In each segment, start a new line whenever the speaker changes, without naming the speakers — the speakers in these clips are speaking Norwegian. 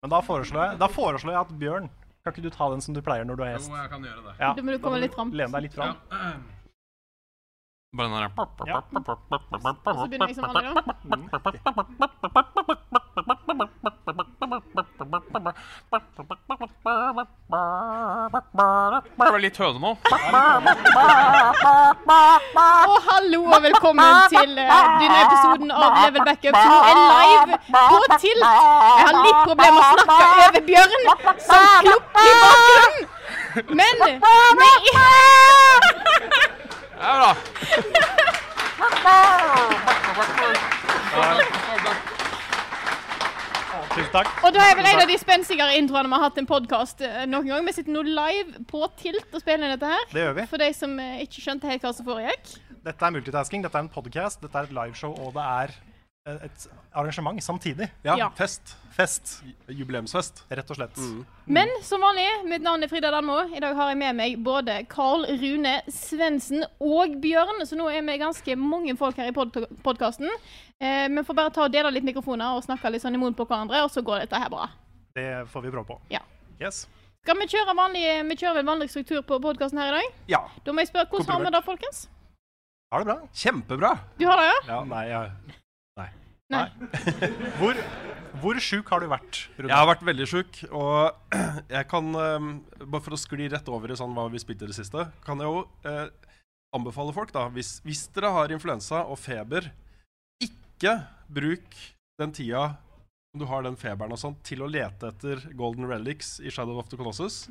Men da foreslår, jeg, da foreslår jeg at Bjørn, kan ikke du ta den som du pleier når du er
Jo,
gjest?
jeg kan gjøre det.
Ja,
Da må du
da
komme
må
litt fram.
Lene deg litt fram.
Ja. Bare den der
Ja.
Og så begynner jeg som vanlig, da.
Jeg ble litt høne nå.
Og hallo og velkommen til eh, denne episoden av Level Backup, som nå er live på Tilt. Jeg har litt problemer med å snakke over Bjørn, som klukker i bakgrunnen. Men vi er
Det er bra.
Tusen takk.
Og da er vel en av de spenstigere introene vi har hatt i en podkast noen gang. Vi sitter nå live på Tilt og spiller inn dette her.
Det gjør vi.
For de som eh, ikke skjønte helt hva som foregikk.
Dette er multitasking, dette er en podcast, dette er et liveshow, og det er eh, et arrangement samtidig.
Ja,
Ja.
fest.
Fest,
Jubileumsfest.
rett og slett.
Men som vanlig, mitt navn er Frida Danmo. I dag har jeg med meg både Karl Rune Svendsen og Bjørn, så nå er vi ganske mange folk her i podkasten. Eh, vi får bare ta og dele litt mikrofoner og snakke litt sånn i munnen på hverandre, og så går dette her bra.
Det får vi prøve på.
Ja.
Yes.
Skal vi kjøre vanlig, vi kjører vel vanlig struktur på podkasten her i dag?
Ja.
Da må jeg spørre, hvordan har vi det, folkens?
Har det bra?
Kjempebra.
Du har det, ja?
Ja, nei, jeg...
Nei.
Hvor, hvor sjuk har du vært, Rune?
Jeg har vært veldig sjuk, og jeg kan eh, Bare for å skli rett over i sånn hva vi spilte i det siste, kan jeg jo eh, anbefale folk, da hvis, hvis dere har influensa og feber, ikke bruk den tida som du har den feberen og sånn, til å lete etter golden relics i Shadow of the Colossus.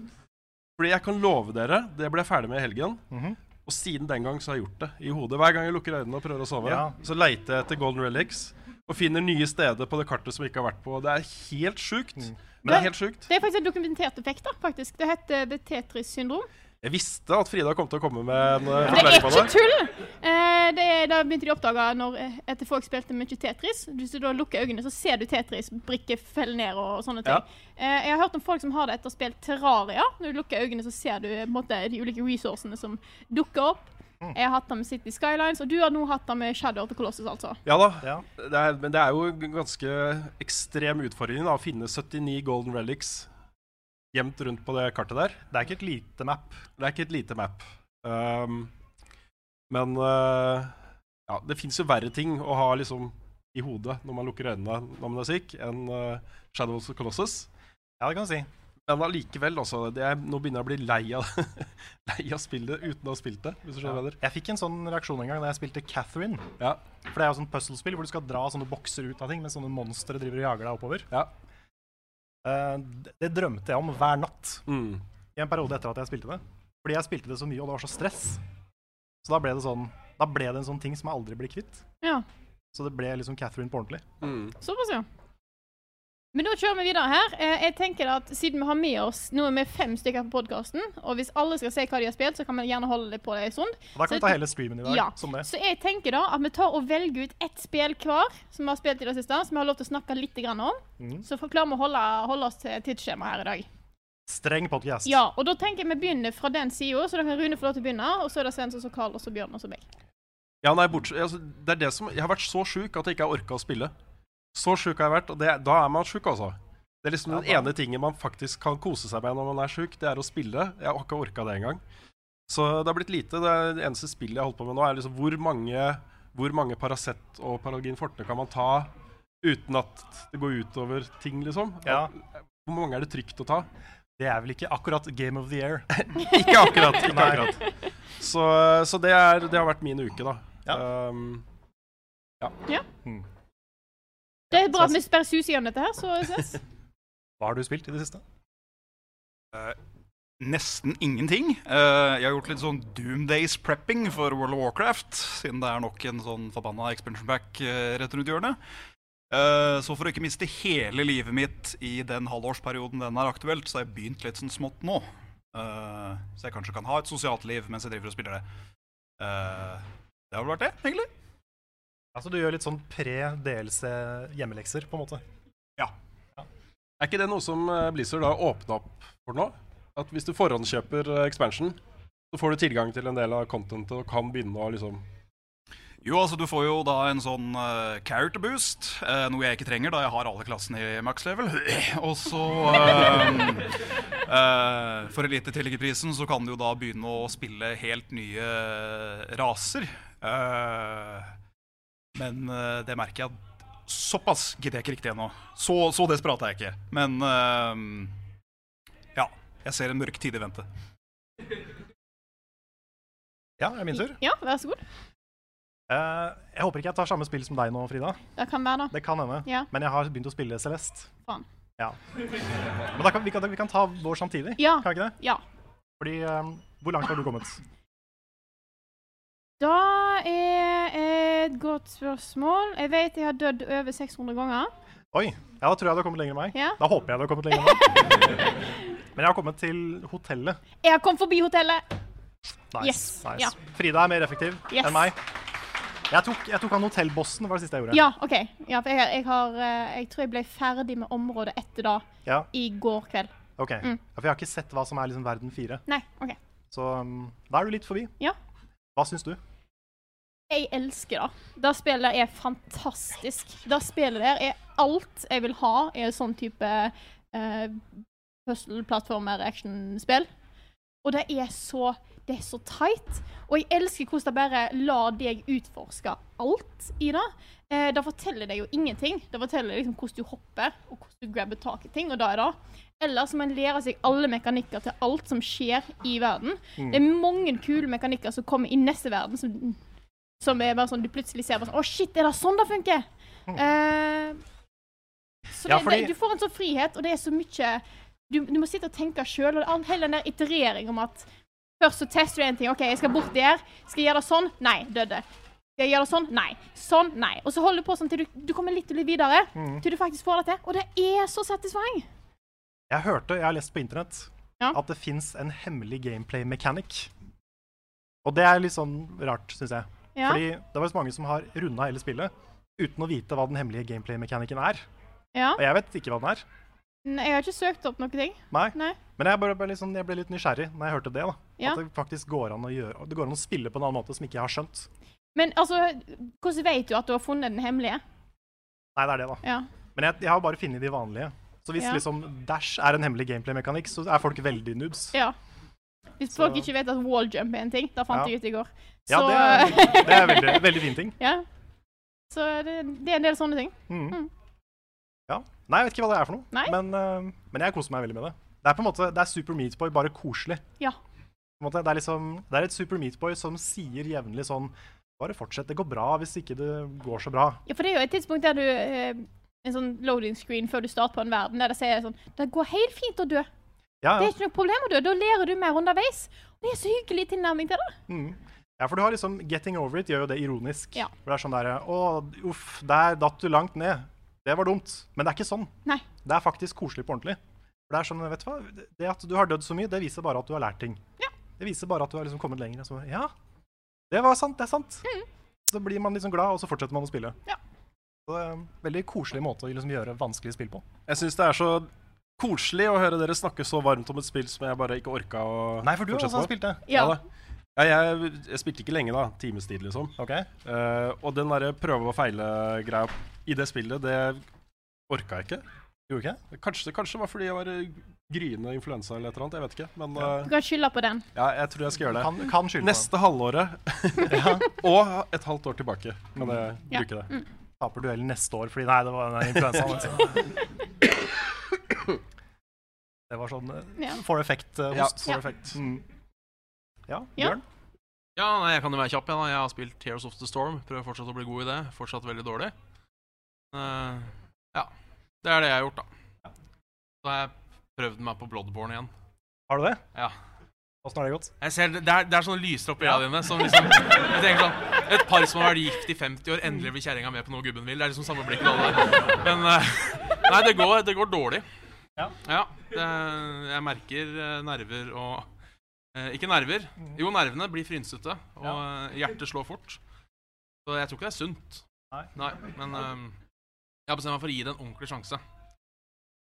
Fordi jeg kan love dere, det ble jeg ferdig med i helgen.
Mhm.
Og siden den gang så har jeg gjort det i hodet. Hver gang jeg lukker øynene og prøver å sove,
Ja.
så leiter jeg etter golden relics. Og finner nye steder på det kartet som jeg ikke har vært på. Det er helt sjukt.
Mm.
Men det er helt sjukt.
Det er faktisk en dokumentert effekt, da, faktisk. Det heter The Tetris syndrom.
Jeg visste at Frida kom til å komme med en eh,
Det er
forklaring på
ikke
det.
tull! Eh, det er, da begynte de å oppdage når, eh, etter folk spilte mye Tetris. Hvis du da lukker øynene, så ser du Tetris-brikker felle ned og, og sånne ting.
Ja.
Eh, jeg har hørt om folk som har det etter å ha spilt Terraria. Når du lukker øynene, så ser du eh, på en måte, de ulike resourcene som dukker opp. Jeg har hatt det med City Skylines, og du har nå hatt det med Shadow of the Colossus, altså.
Ja da.
Ja.
Det er, men det er jo en ganske ekstrem utfordring da, å finne 79 golden relics gjemt rundt på det kartet der.
Det er ikke et lite map.
Det er ikke et lite map. Um, men uh, ja, det fins jo verre ting å ha liksom i hodet når man lukker øynene når man er syk, enn uh, Shadow of the Colossus.
Ja, det kan du si.
Men allikevel, altså. Det er, nå begynner jeg å bli lei av, lei av spillet uten å ha spilt det, hvis du skjønner hva jeg mener.
Jeg fikk en sånn reaksjon en gang da jeg spilte Catherine.
Ja.
For det er jo sånn puzzlespill hvor du skal dra sånne bokser ut av ting mens sånne monstre driver og jager deg oppover.
Ja.
Eh, det- det drømte jeg om hver natt
Mm.
i en periode etter at jeg spilte det. Fordi jeg spilte det så mye, og det var så stress. Så da ble det sånn Da ble det en sånn ting som jeg aldri blir kvitt.
Ja,
Så det ble liksom Catherine på ordentlig.
Mm.
såpass, ja. Men da kjører vi videre her. Eh, jeg tenker at Siden vi har med oss Nå er vi fem stykker på podkasten, og hvis alle skal se hva de har spilt, så kan vi gjerne holde det på det en stund.
Og da kan vi
Så-
ta hele streamen i dag
Ja.
som det.
Så jeg tenker da at vi tar og velger ut ett spill hver som vi har spilt i det siste, som vi har lov til å snakke litt grann om.
Mhm.
Så klarer vi å holde, holde oss til tidsskjemaet her i dag.
Streng podcast.
Ja, og da tenker jeg vi begynner fra den sida, så da kan Rune få lov til å begynne. Og så er det Svens og så Karl og så Bjørn og så meg.
Ja, nei, bortsett, altså, det er det som, Jeg har vært så sjuk at jeg ikke har orka å spille. Så sjuk har jeg vært, og det, da er man sjuk, altså. Det er liksom
Ja,
den
da-
ene tingen man faktisk kan kose seg med når man er sjuk, det er å spille. Jeg har ikke orka det engang. Så det har blitt lite. Det, er det eneste spillet jeg har holdt på med nå, er liksom hvor mange, hvor mange Paracet og Paralgin Forte kan man ta uten at det går utover ting, liksom?
Ja.
Hvor mange er det trygt å ta?
Det er vel ikke akkurat Game of the Year.
Ikke akkurat. Ikke
Nei.
akkurat. Så, så det, er, det har vært min uke, da. Um,
Det er bra at vi sperrer suset gjennom dette her, så Svens.
Hva har du spilt i det siste?
Nesten ingenting. Eh, jeg har gjort litt sånn Doomdays prepping for World of Warcraft, siden det er nok en sånn forbanna expansion pack eh, rett rundt hjørnet. Eh, så for å ikke miste hele livet mitt i den halvårsperioden den er aktuelt, så har jeg begynt litt sånn smått nå. Eh, så jeg kanskje kan ha et sosialt liv mens jeg driver og spiller det. Eh, det har vel vært det, egentlig.
Altså, du gjør litt sånn pre-DLC-hjemmelekser, på en måte.
Er ikke det noe som eh, Blizzard har åpna opp for nå? At hvis du forhåndskjøper eh, expansion, så får du tilgang til en del av contentet og kan begynne å liksom
Jo, altså du får jo da en sånn eh, character boost, eh, noe jeg ikke trenger da jeg har alle klassene i max level. Og så eh, eh, For en lite tillegg i prisen så kan du jo da begynne å spille helt nye raser. Eh, men eh, det merker jeg at såpass gidder jeg ikke riktig ennå. Så, så desperat er jeg ikke. Men eh, ja. Jeg ser en mørk tid i vente.
Ja, det er min tur.
Ja, vær så god.
Eh, jeg håper ikke jeg tar samme spill som deg nå, Frida.
Det kan være, da.
Det kan hende.
Ja.
Men jeg har begynt å spille Celeste.
Faen.
Ja. Men da kan, vi, kan, vi kan ta vår samtidig,
Ja.
kan vi ikke det?
Ja.
Fordi eh, Hvor langt har du kommet?
Da er et godt spørsmål. Jeg vet jeg har dødd over 600 ganger.
Oi. Ja, da tror jeg du har kommet lenger enn meg.
Ja.
Da håper jeg du har kommet lenger enn meg. Men jeg har kommet til hotellet.
Jeg har kommet forbi hotellet.
Nice.
Yes,
nice.
ja.
Frida er mer effektiv
Yes.
enn meg. Jeg tok, jeg tok han hotellbossen, var det siste jeg gjorde.
Ja, OK. Ja, for jeg, jeg, har, eh, jeg tror jeg ble ferdig med området etter da
Ja,
i går kveld.
ok.
Mm.
Ja, for jeg har ikke sett hva som er liksom verden fire.
Nei, OK.
Så um, da er du litt forbi.
Ja.
Hva syns du?
Jeg elsker det. Det spillet der er fantastisk. Det spillet der er alt jeg vil ha i en sånn type uh, puzzle-plattformer-actionspill. Og det er så Det er så tight. Og jeg elsker hvordan det bare lar deg utforske alt i det. Eh, det forteller deg jo ingenting. Det forteller liksom hvordan du hopper, og hvordan du grabber tak i ting, og da er det. Ellers må en lære seg alle mekanikker til alt som skjer i verden.
Mm.
Det er mange kule mekanikker som kommer i neste verden, som som er bare sånn, du plutselig ser bare sånn Å, shit, er det sånn det funker? Eh, så
Mm.
det,
Ja, fordi-
det, du får en sånn frihet, og det er så mye Du, du må sitte og tenke sjøl, og all- hele den der iterering om at Først så tester du en ting. OK, jeg skal bort der. Skal jeg gjøre det sånn? Nei. Døde. Skal jeg gjøre det sånn? Nei. Sånn? Nei. Og så holder du på sånn til du, du kommer litt og litt videre.
Mm.
Til du faktisk får det til. Og det er så satisfying.
Jeg hørte, jeg har lest på internett,
Ja.
at det fins en hemmelig gameplay mechanic. Og det er litt sånn rart, syns jeg.
Ja.
Fordi det var så mange som har runda hele spillet uten å vite hva den hemmelige gameplay mechanikken er.
ja.
Og jeg vet ikke hva den er.
Nei, jeg har ikke søkt opp noen ting.
Nei.
Nei.
Men jeg, bare, bare litt sånn- jeg ble litt nysgjerrig når jeg hørte det. da.
Ja.
At det faktisk går an å gjøre, det går an å spille på en annen måte som ikke jeg har skjønt.
Men altså, hvordan vet du at du har funnet den hemmelige?
Nei, det er det, da.
Ja.
Men jeg, jeg har bare funnet de vanlige. Så hvis
Ja.
liksom Dash er en hemmelig gameplay-mekanikk, så er folk veldig noobs.
Ja. Hvis folk ikke vet at walljump er en ting, da fant
Ja.
jeg ut i går. Så,
Ja, det er, det er veldig, veldig fin ting.
ja. Så det, det er en del sånne ting.
Mhm.
Mm.
Ja. Nei, jeg vet ikke hva det er for noe,
Nei.
Men, eh, men jeg koser meg veldig med det. Det er på en måte, det er Super Meat Boy, bare koselig.
Ja.
På en måte, det, er liksom, det er et Super Meat Boy som sier jevnlig sånn Bare fortsett, det går bra hvis ikke det går så bra.
Ja, for det er jo et tidspunkt der du eh, En sånn loading screen før du starter på en verden, der det sier sånn Det går helt fint å dø.
Ja,
Det
ja.
er ikke noe problem å dø. Da lærer du mer underveis. Og det er så hyggelig tilnærming til det.
Mm. ja, for du har liksom Getting over it gjør jo det ironisk.
Ja.
For det er sånn der Å, uff, der datt du langt ned. Det var dumt. Men det er ikke sånn.
Nei.
Det er faktisk koselig på ordentlig. For det er sånn, vet du hva, det at du har dødd så mye, det viser bare at du har lært ting.
Ja.
Det viser bare at du har liksom kommet lenger. og Så, ja, det var sant, det er sant.
Mm.
Så blir man liksom glad, og så fortsetter man å spille.
Ja.
Så det er en veldig koselig måte å liksom gjøre vanskelige spill på.
Jeg syns det er så koselig å høre dere snakke så varmt om et spill som jeg bare ikke orka å
Nei, for du har
fortsette med.
også spilt det.
Ja.
da. Ja, jeg, jeg spilte ikke lenge, da. Times tid, liksom.
Ok.
Eh, og den derre prøve og feile-greia i det spillet, det orka jeg ikke.
Gjorde du ikke?
Kanskje, kanskje det var fordi jeg var eh, gryende influensa eller et eller annet. Jeg vet ikke. Men eh,
Du kan skylde på den.
ja, jeg tror jeg skal gjøre det.
Kan, kan skylde
Neste halvåret og et halvt år tilbake kan jeg
Ja.
bruke det.
på Taper duellen neste år fordi Nei, det var den influensaen. altså. det var sånn eh,
Ja.
For effekt-host.
Ja.
for effekt. Mm. Ja,
Ja.
Bjørn?
Ja, nei, jeg kan jo være kjapp. Jeg, da. jeg har spilt Tears of the Storm. Prøver fortsatt å bli god i det. Fortsatt veldig dårlig. Eh, ja. Det er det jeg har gjort, da. Så har jeg prøvd meg på Bloodborne igjen.
Har du det?
Ja.
Åssen har det gått?
Jeg ser, det, er, det er sånne lyser opp i øynene dine som liksom Jeg tenker sånn Et par som har vært gift i 50 år, endelig blir kjerringa med på noe gubben vil. Det er liksom samme blikket alle har. Men eh, Nei, det går, det går dårlig.
Ja.
det, jeg merker eh, nerver og eh, Ikke nerver. Jo, nervene blir frynsete, og eh, hjertet slår fort. Så jeg tror ikke det er sunt.
Nei.
men eh, jeg har bestemt meg for å gi det en ordentlig sjanse.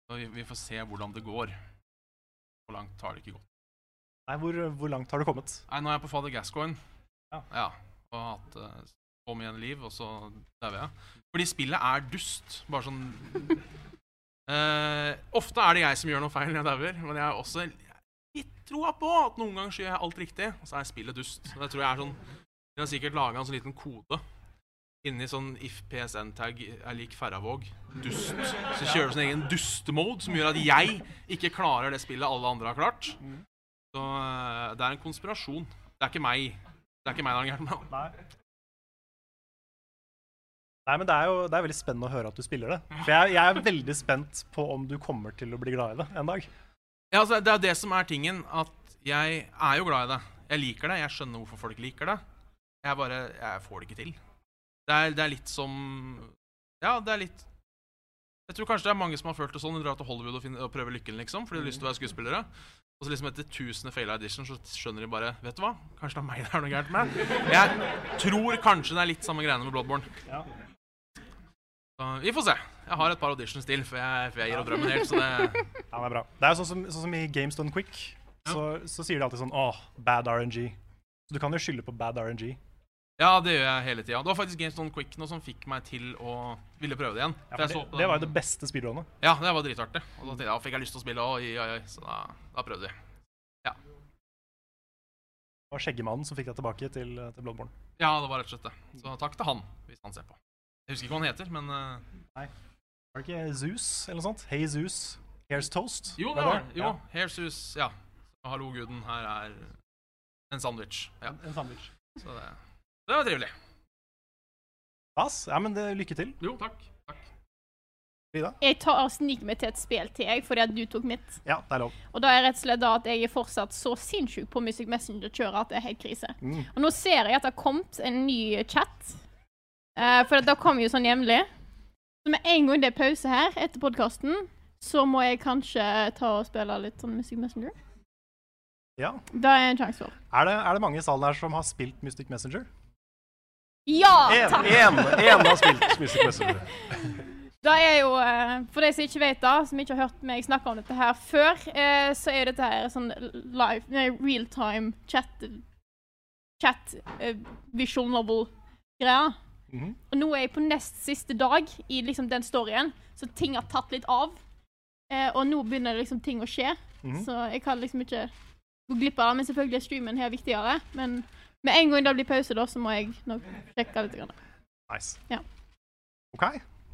Så vi, vi får se hvordan det går. Hvor langt har det ikke gått.
Nei, hvor, hvor langt har du kommet?
Nei, nå er jeg på Fader Gascoigne.
Ja.
Ja. Og har hatt eh, om igjen liv, og så dauer jeg. Fordi spillet er dust. Bare sånn Eh, Ofte er det jeg som gjør noe feil når jeg dauer, men jeg har også litt troa på at noen ganger så gjør jeg alt riktig, og så er spillet dust. Og jeg tror jeg er sånn De har sikkert laga en sånn liten kode inni sånn if PSN-tag er lik Ferravåg. Dust. Så kjører du sin egen dustemode som gjør at jeg ikke klarer det spillet alle andre har klart. Så eh, det er en konspirasjon. Det er ikke meg. Det er ikke meg det er noe gærent med.
Nei. Nei, men det er jo det er veldig spennende å høre at du spiller det. For jeg, jeg er veldig spent på om du kommer til å bli glad i det en dag.
Ja, altså, det er jo det som er tingen, at jeg er jo glad i det. Jeg liker det, jeg skjønner hvorfor folk liker det. Jeg bare Jeg får det ikke til. Det er, det er litt som Ja, det er litt Jeg tror kanskje det er mange som har følt det sånn. De drar til Hollywood og, finner, og prøver lykken, liksom, fordi de har lyst til å være skuespillere. Og så liksom etter tusende faila edition så skjønner de bare Vet du hva? Kanskje det er meg det er noe gærent med. Jeg tror kanskje det er litt samme greiene med Bloodborne.
Ja.
Så, vi får se. Jeg har et par auditions til før jeg, før jeg gir opp drømmen helt, så det
Ja, det er bra. Det er jo sånn som, sånn som i Games Done Quick, så, så sier de alltid sånn åh, bad RNG. Så du kan jo skylde på bad RNG.
Ja, det gjør jeg hele tida. Det var faktisk Games Done Quick nå som fikk meg til å ville prøve det igjen.
Ja, for
For jeg
det,
så på
det
den-
var jo det beste speedrunnet.
Ja, det var dritartig. Og da tenkte jeg, ja, fikk jeg lyst til å spille, oi, oi, oi. Så da, da prøvde vi.
Det var Skjeggemannen som fikk deg tilbake til, til Bloodborne.
Ja, det var rett og slett det. Så takk til han, hvis han ser på. Jeg husker ikke hva han heter, men eh,
Var det ikke Zeus eller noe sånt? Hey Zeus, here's toast?
Jo, det
Hva
var
det?
Jo, Here's Who's Ja. Hallo, guden, her er en sandwich. Ja,
Ja. En sandwich.
så det, det var trivelig.
Stas. Ja, men det, lykke til,
Jo, takk. Takk.
Frida.
Jeg tar og sniker meg til et spill til, jeg, fordi at du tok mitt.
Ja, det er lov.
Og da er rett og slett da at jeg er fortsatt så sinnssyk på Music Messenger-kjøret at det er helt krise.
Mm.
Og nå ser jeg at det har kommet en ny chat, eh, for da kommer jo sånn jevnlig. Så med en gang det er pause her etter podkasten, så må jeg kanskje ta og spille litt sånn Music Messenger.
Ja.
Det er en sjanse for.
Er det, er det mange i salen her som har spilt Mystic Messenger?
Ja!
En, en, en har spilt Mystic Messenger.
Det er jo, eh, for de som ikke vet det, som ikke har hørt meg snakke om dette her før, eh, så er dette her sånn live, nei, real time chat, chat eh, visionable greier.
Mhm.
Og nå er jeg på nest siste dag i liksom den storyen, så ting har tatt litt av. Eh, og nå begynner liksom ting å skje,
Mhm.
så jeg kan liksom ikke gå glipp av det. Men selvfølgelig er streamen her viktigere. Men med en gang det blir pause, da, så må jeg nok sjekke litt. Grann.
Nice.
Ja.
OK.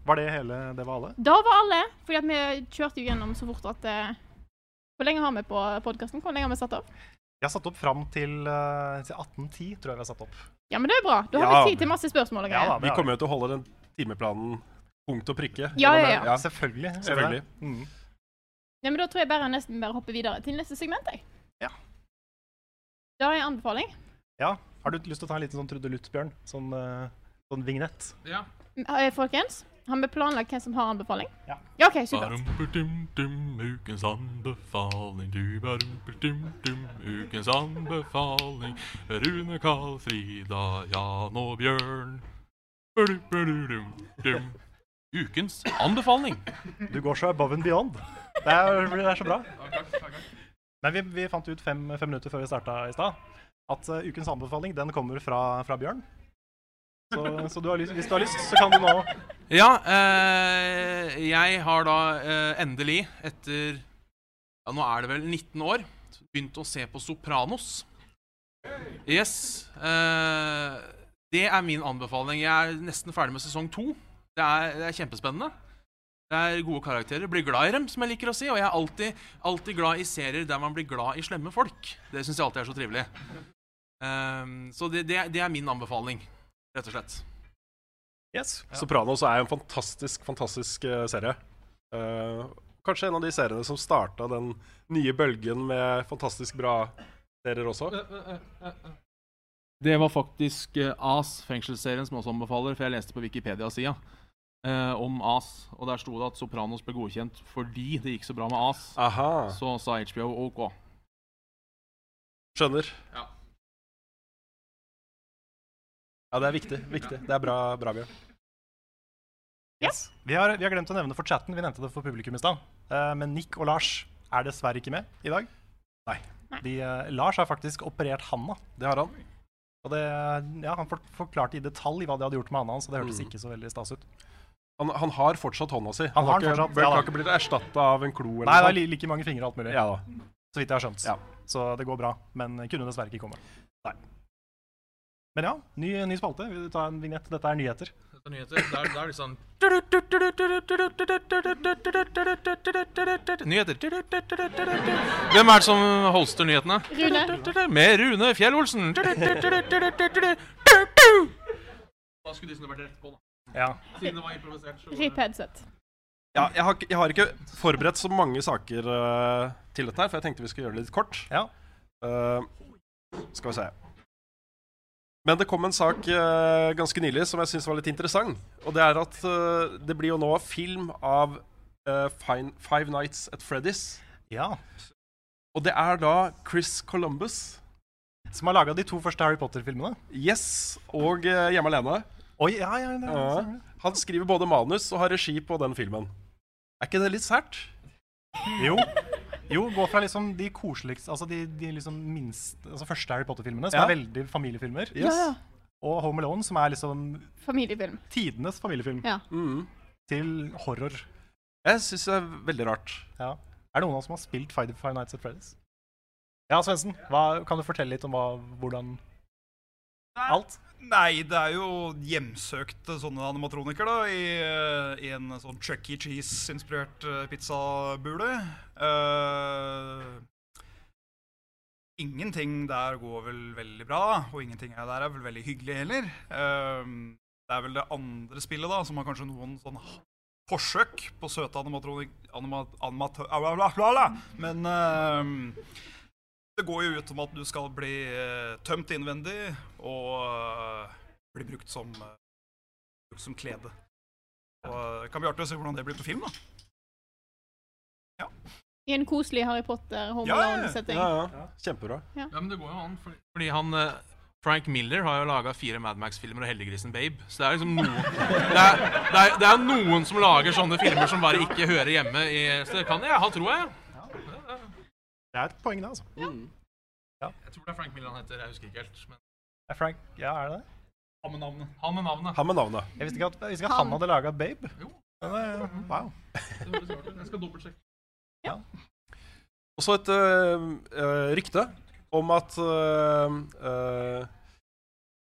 Var det hele Det var alle?
Da var alle, fordi at vi kjørte jo gjennom så fort at eh, Hvor lenge har vi på podkasten? Hvor lenge har vi satt opp?
Jeg har satt opp fram til, eh, til 1810, tror jeg vi har satt opp.
Ja, men det er bra. Da har
Ja.
vi tid til masse spørsmål og
Ja,
greier.
da, det
Vi
har
kommer jo til å holde den timeplanen punkt og prikke.
Ja, ja, ja.
Ja, selvfølgelig. gjør vi det.
Selvfølgelig.
Mm.
Ja, men da tror jeg bare nesten bare hopper videre til neste segment, jeg.
Ja.
Da har jeg en anbefaling.
Har du lyst til å ta en liten sånn trudelutt, Bjørn? Sånn, eh, sånn vignett?
Ja.
Eh, Folkens, har vi planlagt hvem som har anbefaling?
Ja.
ja OK, supert.
Barumpertum-tum, ukens anbefaling. Du barumpertum-tum, ukens anbefaling. Rune, Karl, Frida, Jan og Bjørn. Barumpertum-tum. Ukens anbefaling.
Du går så above and beyond. Det er, det er så bra. Men vi, vi fant ut fem, fem minutter før vi starta i stad at eh, ukens anbefaling den kommer fra, fra Bjørn. Så, så du har lyst, hvis du har lyst, så kan du nå
Ja, eh, jeg har da eh, endelig, etter ja, nå er det vel 19 år, begynt å se på Sopranos. Yes. Eh, det er min anbefaling. Jeg er nesten ferdig med sesong to. Det er, det er kjempespennende. Det er gode karakterer. Blir glad i dem, som jeg liker å si. Og jeg er alltid, alltid glad i serier der man blir glad i slemme folk. Det syns jeg alltid er så trivelig. Eh, så det, det, det er min anbefaling, rett og slett.
Yes.
Sopranos er en fantastisk, fantastisk eh, serie. Eh, kanskje en av de seriene som starta den nye bølgen med fantastisk bra serier også.
Det var faktisk eh, AS, fengselsserien, som også anbefaler, for jeg leste på Wikipedia-sida eh, om AS, og der sto det at Sopranos ble godkjent fordi det gikk så bra med AS.
Aha.
Så sa HBO OK.
Skjønner.
Ja.
Ja, det er viktig. viktig. Det er bra, bra Bjørn.
Yes. Vi, har, vi har glemt å nevne for chatten, vi nevnte det for publikum i stad. Eh, men Nick og Lars er dessverre ikke med i dag.
Nei.
De, eh, Lars har faktisk operert handa.
Det har han.
Og det, ja, han for, forklarte i detalj hva de hadde gjort med hånda hans, og det hørtes
Mm.
ikke så veldig stas ut.
Han, han har fortsatt hånda si.
Han har den
ikke,
fortsatt,
Bjørk
ja da.
har ikke blitt erstatta av en klo
Nei, det
eller
er li- like mange fingre og alt mulig,
Ja da.
så vidt jeg har skjønt.
Ja.
Så det går bra, men kunne dessverre ikke komme. Nei. Men ja, ny, ny spalte. Vi tar en vignett. Dette er nyheter.
Dette er nyheter. Det er, det er litt sånn Nyheter. Hvem er det som holster nyhetene?
Rune,
Med Rune Fjell-Olsen. Da skulle disse vært rett på, da.
Ja.
Siden det var improvisert. så var det-
rip headset.
Ja, jeg, har, ikke- jeg har ikke forberedt så mange saker eh, til dette her, for jeg tenkte vi skulle gjøre det litt kort.
Ja.
Eh, skal vi se. Men det kom en sak eh, ganske nylig som jeg syns var litt interessant. Og det er at eh, det blir jo nå film av eh, Fine, Five Nights at Freddy's.
ja.
Og det er da Chris Columbus,
Som har laga de to første Harry Potter-filmene.
Yes og eh, Hjemme alene.
Oi, ja, ja, det,
Ja. Han skriver både manus og har regi på den filmen. Er ikke det litt sært?
Jo. Jo, gå fra liksom de koseligste Altså de, de liksom minste Altså første Harry Potter-filmene, som
Ja.
er veldig familiefilmer,
Yes.
Ja, ja.
og Home Alone, som er liksom
Familiefilm.
tidenes familiefilm,
Ja.
Mm.
til horror.
Jeg syns det er veldig rart.
Ja. Er det noen av oss som har spilt Five, Five Nights at Freddy's? Ja, Svendsen, hva- kan du fortelle litt om hva, hvordan Alt?
Nei, det er jo hjemsøkte sånne animatroniker da, i, eh, i en sånn Chuck E. Cheese-inspirert eh, pizzabule. Eh, ingenting der går vel veldig bra, og ingenting er der er vel veldig hyggelig heller. Eh, det er vel det andre spillet da, som har kanskje noen sånn forsøk på søte animatronik... Anima, animat, bla, bla, bla, bla. Men eh, det går jo ut om at du skal bli eh, tømt innvendig og eh, bli brukt som, eh, brukt som klede. Og eh, Det kan bli artig å se hvordan det blir på film, da.
I en koselig Harry Potter Home
Ja, ja, ja.
Alone-setting.
Ja, ja. Kjempebra.
Ja, men det går jo an, fordi, fordi han eh, Frank Miller har jo laga fire Mad Max-filmer og Heldiggrisen Babe. Så det er liksom noen det er, det, er, det er noen som lager sånne filmer som bare ikke hører hjemme i Så det kan jeg ha troa, jeg.
Det er et poeng, det, altså.
Jeg tror det er Frank Miller han heter, jeg husker ikke helt. Men
Er Frank Ja, er det det?
han med navnet. Han med navnet.
Han med navnet.
Jeg visste ikke at, jeg visste ikke at han
Han.
hadde laga Babe.
Jo.
Men, eh, wow.
Det høres rart ut. Jeg skal dobbeltsjekke.
Og så et øh, øh, rykte om at øh, øh,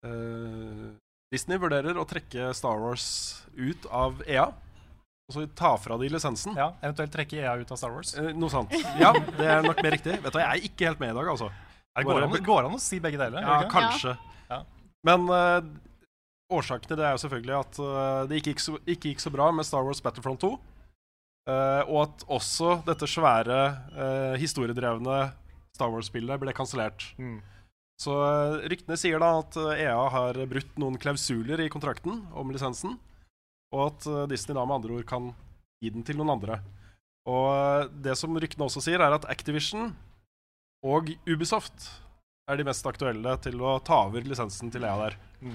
øh, Disney vurderer å trekke Star Wars ut av EA. Og så ta fra de lisensen.
Ja, eventuelt trekke EA ut av Star Wars.
Eh, noe sånt. Ja, det er nok mer riktig. Vet du, Jeg er ikke helt med i dag, altså.
Er det går, an, går an å si begge deler?
Ja,
gjør det ikke det?
kanskje.
Ja.
Men øh, årsaken til det er jo selvfølgelig at øh, det ikke gikk, så, ikke gikk så bra med Star Wars Battlefront 2. eh, og at også dette svære, eh, historiedrevne Star Wars-spillet ble kansellert.
Mm.
Så eh, ryktene sier da at eh, EA har brutt noen klausuler i kontrakten om lisensen, og at eh, Disney da med andre ord kan gi den til noen andre. Og eh, det som ryktene også sier, er at Activision og Ubisoft er de mest aktuelle til å ta over lisensen til EA der.
Mm.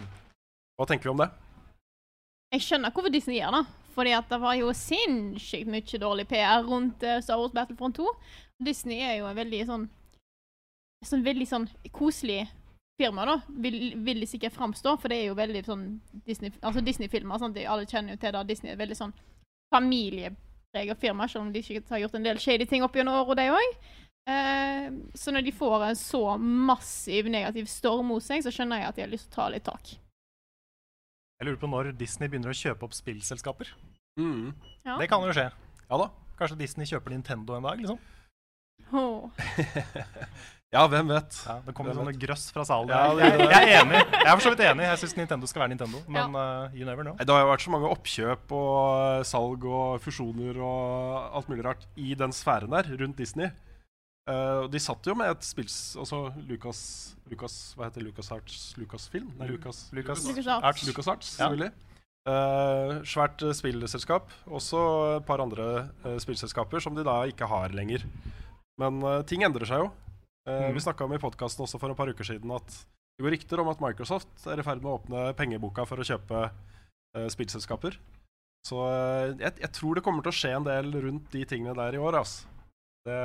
Hva tenker vi om det?
Jeg skjønner hvorfor Disney gjør det. Fordi at det var jo sinnssykt mye dårlig PR rundt eh, Star Wars Battlefront 2. Disney er jo en veldig sånn sånn veldig sånn koselig firma, da. Vil, vil de sikkert framstå, for det er jo veldig sånn Disney, altså Disney-filmer. sant? De- Alle kjenner jo til det. Disney er et veldig sånn familiepreget firma, selv om de sikkert har gjort en del shady ting opp gjennom åra, de òg. Eh, så når de får en så massiv negativ storm mot seg, så skjønner jeg at de har lyst til å ta litt tak.
Jeg lurer på når Disney begynner å kjøpe opp spillselskaper.
Mm.
Ja.
Det kan jo skje.
Ja da.
Kanskje Disney kjøper Nintendo en dag? liksom?
Åh.
Ja, hvem vet?
Ja, Det kommer
Hvem
sånn grøss fra salen.
Ja,
jeg,
det- det-
jeg er enig. Jeg er for så vidt enig. Jeg syns Nintendo skal være Nintendo, men eh, you never know.
Nei, Det har jo vært så mange oppkjøp og eh, salg og fusjoner og alt mulig rart i den sfæren der, rundt Disney. Eh, og de satt jo med et spills... Altså Lucas, Lucas Hva heter Lucas Arts? Lucasfilm? Nei, Lucas,
Lucas,
LucasArts.
Arts.
Lucas Arts,
Ja.
selvfølgelig. Eh, svært eh, spillselskap. Også et par andre eh, spillselskaper som de da ikke har lenger. Men eh, ting endrer seg jo. Eh,
Mm.
Vi snakka om i podkasten også for et par uker siden at det går rykter om at Microsoft er i ferd med å åpne pengeboka for å kjøpe eh, spillselskaper. Så eh, jeg, jeg tror det kommer til å skje en del rundt de tingene der i år, altså. Det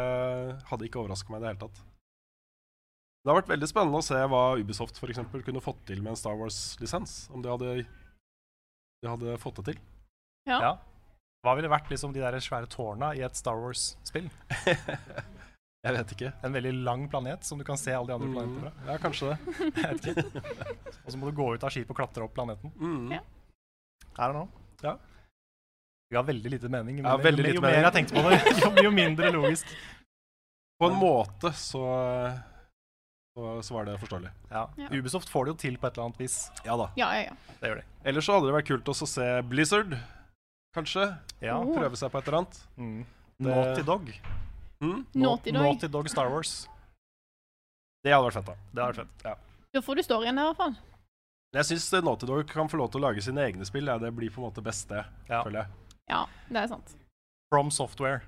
hadde ikke overraska meg i det hele tatt. Det har vært veldig spennende å se hva Ubisoft for eksempel, kunne fått til med en Star Wars-lisens. Om de hadde, de hadde fått det til.
Ja.
Ja. Hva ville vært liksom de der svære tårna i et Star Wars-spill?
Jeg vet ikke.
En veldig lang planet som du kan se alle de andre
Mm,
planetene fra.
ja, kanskje det.
Jeg vet ikke. Og så må du gå ut av skipet og klatre opp planeten.
Mm.
Ja.
Er det nå?
Ja.
Vi har veldig lite mening. Men
Ja, veldig
jo, mer-
lite
jo mer jeg tenkte på det, jo, jo mindre logisk.
På en måte så, så, så var det forståelig.
Ja.
Ja.
Ubisoft får det jo til på et eller annet vis.
Ja da.
Ja, ja, ja.
Det gjør de.
Ellers så hadde det vært kult også å se Blizzard, kanskje.
Ja.
Oh.
Prøve seg på et eller annet.
Mm.
Det-
Naughty Dog.
Mm.
Naughty Dog.
Naughty Dog Star Wars.
Det hadde vært fett, da.
Det er fett.
Ja.
Da får du storyen her, i hvert fall.
Jeg syns Naughty Dog kan få lov til å lage sine egne spill. Ja. Det blir på en måte best, det.
Ja.
Føler jeg.
Ja, det er sant.
Mm. From Software.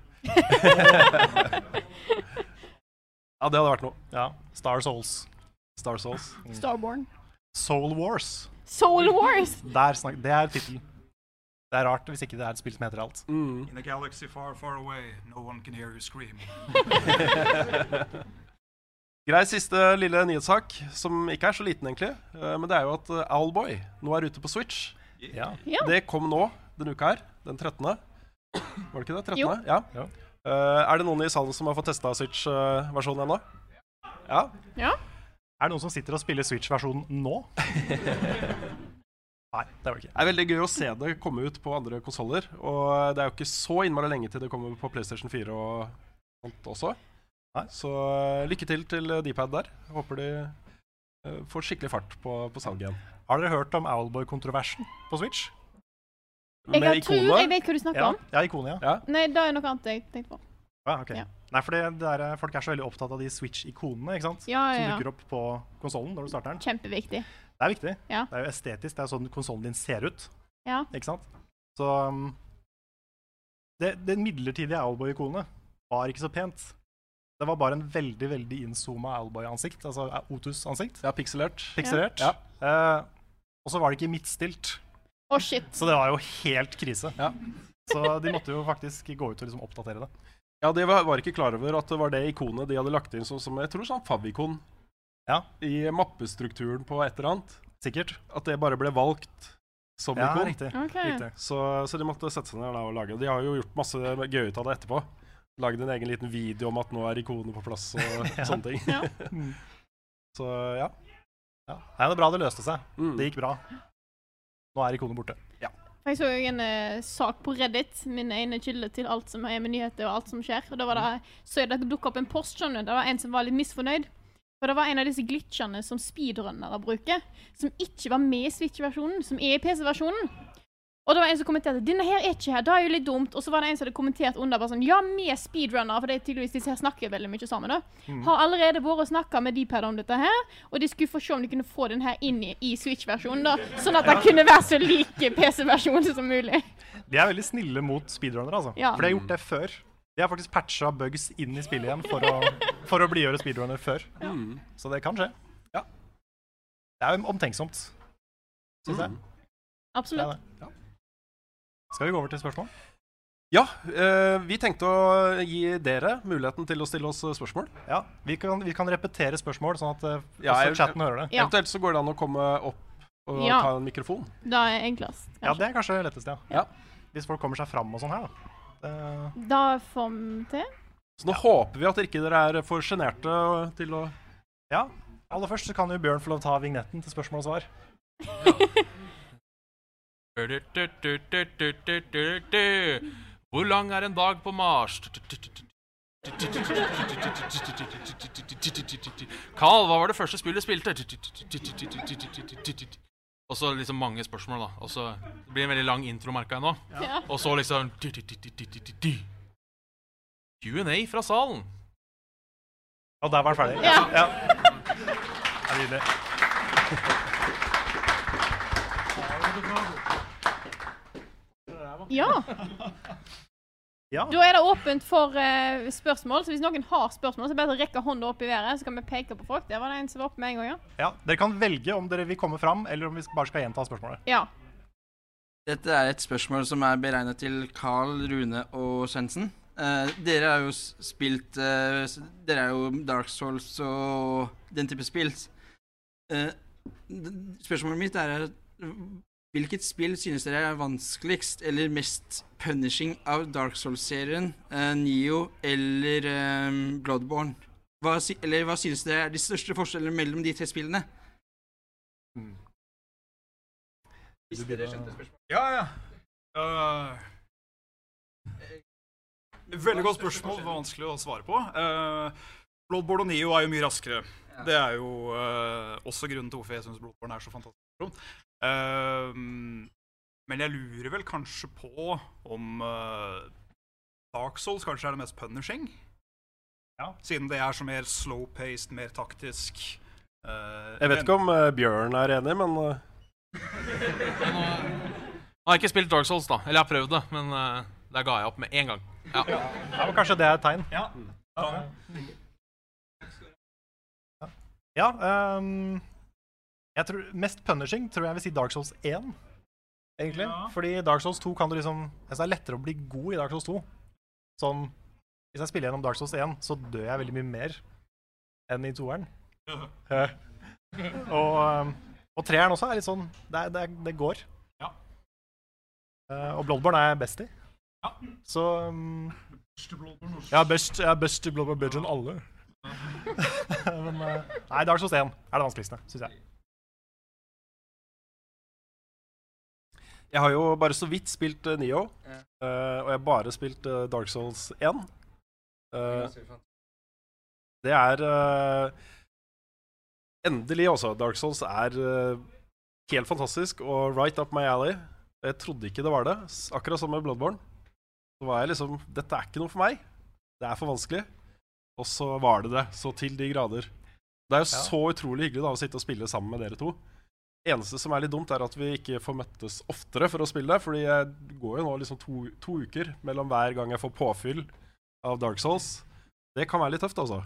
Ja, det hadde vært noe.
Ja. Star Souls.
Star Souls.
Starborn.
Soul Wars.
Soul Wars!
Der snak det er tittelen. Det er rart hvis ikke det er et spill som heter alt.
Mm.
In a galaxy far, far away, no one can hear you scream.
Grei siste lille nyhetssak, som ikke er så liten egentlig. eh, Men det er jo at eh, Owlboy nå er ute på Switch.
Ja.
Ja.
Det kom nå denne uka her, den 13. Var det ikke det? 13.
Jo.
Ja.
Ja.
Eh, er det noen i salen som har fått testa Switch-versjonen ennå? Ja.
ja.
Er det noen som sitter og spiller Switch-versjonen nå? Nei, det var det ikke.
Det er veldig gøy å se det komme ut på andre konsoller. Og det er jo ikke så innmari lenge til det kommer på PlayStation 4 og sånt også.
Nei.
Så eh, lykke til til Dpad der. Håper de eh, får skikkelig fart på, på salget igjen.
Har dere hørt om Owlboy-kontroversen på Switch?
Jeg har tror jeg
ikonet?
vet hva du snakker
Ja,
om.
ja Ikonia. Ja.
Nei, det er noe annet jeg tenkte på.
Ah, ok.
Ja.
Nei, for det, det er, folk er så veldig opptatt av de Switch-ikonene ikke sant?
Ja,
som
ja, ja.
dukker opp på konsollen når du starter den.
Kjempeviktig.
Det er viktig.
Ja.
Det er jo estetisk. Det er sånn konsollen din ser ut.
Ja.
Ikke sant? Så um, det, det midlertidige Owlboy-ikonet var ikke så pent. Det var bare en veldig veldig innzooma Owlboy-ansikt, altså Otus-ansikt.
Ja, pikselert.
Pikselert.
Ja.
Eh, og så var det ikke midtstilt,
Å, shit.
så det var jo helt krise.
Ja.
Så de måtte jo faktisk gå ut og liksom oppdatere det.
Ja, de var, var ikke klar over at det var det ikonet de hadde lagt inn som, som jeg tror sånn favicon
Ja.
i mappestrukturen på et eller annet.
Sikkert.
At det bare ble valgt som
Ja,
ikon.
riktig.
OK.
riktig.
Så, så de måtte sette seg ned da og lage. De har jo gjort masse gøy ut av det etterpå. Lagd en egen liten video om at nå er ikonet på plass og sånne ting.
Ja.
Mm.
Så ja.
Ja. Nei, det er bra det løste seg.
Mm.
Det gikk bra. Nå er ikonet borte.
Jeg så jo en eh, sak på Reddit, min ene kilde til alt som er med nyheter og alt som skjer. Og da var det, eh, så jeg det dukket opp en post, skjønner du. Det var en som var litt misfornøyd. For det var en av disse glitchene som speedrunnere bruker, som ikke var med i Switch-versjonen, som er i PC-versjonen. Og det var en som kommenterte 'Denne her er ikke her, det er jo litt dumt'. Og så var det en som hadde kommentert under bare sånn 'Ja, vi speedrunnere', for det er tydeligvis disse her snakker veldig mye sammen, da. Har allerede vært og snakka med Dpad om dette her, og de skulle få se om de kunne få den her inn i, i Switch-versjonen, da. Sånn at den kunne være så lik PC-versjonen som mulig.
De er veldig snille mot speedrunnere, altså.
Ja.
For de har gjort det før. De har faktisk patcha bugs inn i spillet igjen for å, for å blidgjøre speedrunner før.
Mm.
Så det kan skje.
Ja.
Det er jo omtenksomt, syns jeg.
Mm.
Det er
Absolutt.
det. Skal vi gå over til spørsmål?
Ja, eh, vi tenkte å gi dere muligheten til å stille oss spørsmål.
Ja. Vi kan, vi kan repetere spørsmål, sånn at eh,
Ja,
også
jeg-
chatten hører det.
Ja.
Eventuelt så går det an å komme opp og
Ja.
ta en mikrofon.
Det er enklest.
Ja,
kanskje.
det er kanskje lettest, ja.
Ja.
Hvis folk kommer seg fram og sånn her, da. Det-
Da får vi til.
Så nå håper vi at ikke dere er for sjenerte til å
ja. Aller først så kan jo Bjørn få lov til å ta vignetten til spørsmål og svar.
Hvor lang er en dag på Mars? Carl, hva var det første spillet du spilte? Og så liksom mange spørsmål, da. Og så det blir en veldig lang intro, merka jeg nå.
Ja.
Og så liksom Q&A fra salen.
Og der var den ferdig.
Ja.
ja. Det er nydelig.
ja.
Ja.
Da er det åpent for eh, spørsmål, så hvis noen har spørsmål, så er det bare å rekke hånda opp i været, så kan vi peke på folk. Der var det en som var oppe med en gang, ja.
Ja, Dere kan velge om dere vil komme fram, eller om vi bare skal gjenta spørsmålet.
Ja.
Dette er et spørsmål som er beregnet til Carl, Rune og Svendsen. Eh, dere har jo s- spilt eh, s- Dere er jo Dark Souls og den type spill. Eh, d- spørsmålet mitt er eh, Hvilket spill synes dere er vanskeligst eller mest punishing av Dark Souls-serien, eh, Nio eller eh, Bloodborne? Hva, sy- eller hva synes dere er de største forskjellene mellom de tre spillene? Hvis dere skjønte spørsmålet.
Ja, ja. Eh, veldig godt spørsmål. Vanskelig å svare på. Eh, Bloodborne og Neo er jo mye raskere. Det er jo eh, også grunnen til hvorfor jeg syns Bloodborne er så fantastisk morsomt. Eh, men jeg lurer vel kanskje på om eh, Dark Souls kanskje er det mest punishing.
Ja.
Siden det er så mer slow-paced, mer taktisk. eh,
Jeg vet ikke om eh, Bjørn er enig, men eh,
Jeg har ikke spilt Dark Souls, da. Eller jeg har prøvd det, men eh, der ga jeg opp med en gang. Ja.
Ja, men kanskje det er et tegn.
Ja. Sånn.
Ja, ehm, jeg tror, mest punishing tror jeg vil si Dark Souls 1, egentlig. Fordi Dark Souls 2 kan du liksom altså Det er lettere å bli god i Dark Souls 2. Sånn Hvis jeg spiller gjennom Dark Souls 1, så dør jeg veldig mye mer enn i toeren. Eh, og, ehm, og treeren også er litt sånn Det, er, det, er, det går.
Ja.
Eh, og Bloodborne er jeg best i.
Ja.
Så ehm, jeg er best, jeg er best i Bloodborne Budge enn alle. Men eh, Nei, Dark Souls 1 er det vanskeligste, syns jeg.
jeg har jo bare så vidt spilt eh, Neo.
Ja.
eh, og jeg har bare spilt eh, Dark Souls 1. Eh, det er eh, Endelig, altså. Dark Souls er eh, helt fantastisk og right up my alley. Jeg trodde ikke det var det. S- Akkurat som med Bloodborne. Så var jeg liksom Dette er ikke noe for meg. Det er for vanskelig. Og så var det det. Så til de grader. Det er jo
Ja.
så utrolig hyggelig da å sitte og spille sammen med dere to. eneste som er litt dumt, er at vi ikke får møttes oftere for å spille. Fordi jeg går jo nå liksom to, to uker mellom hver gang jeg får påfyll av Dark Souls. Det kan være litt tøft, altså.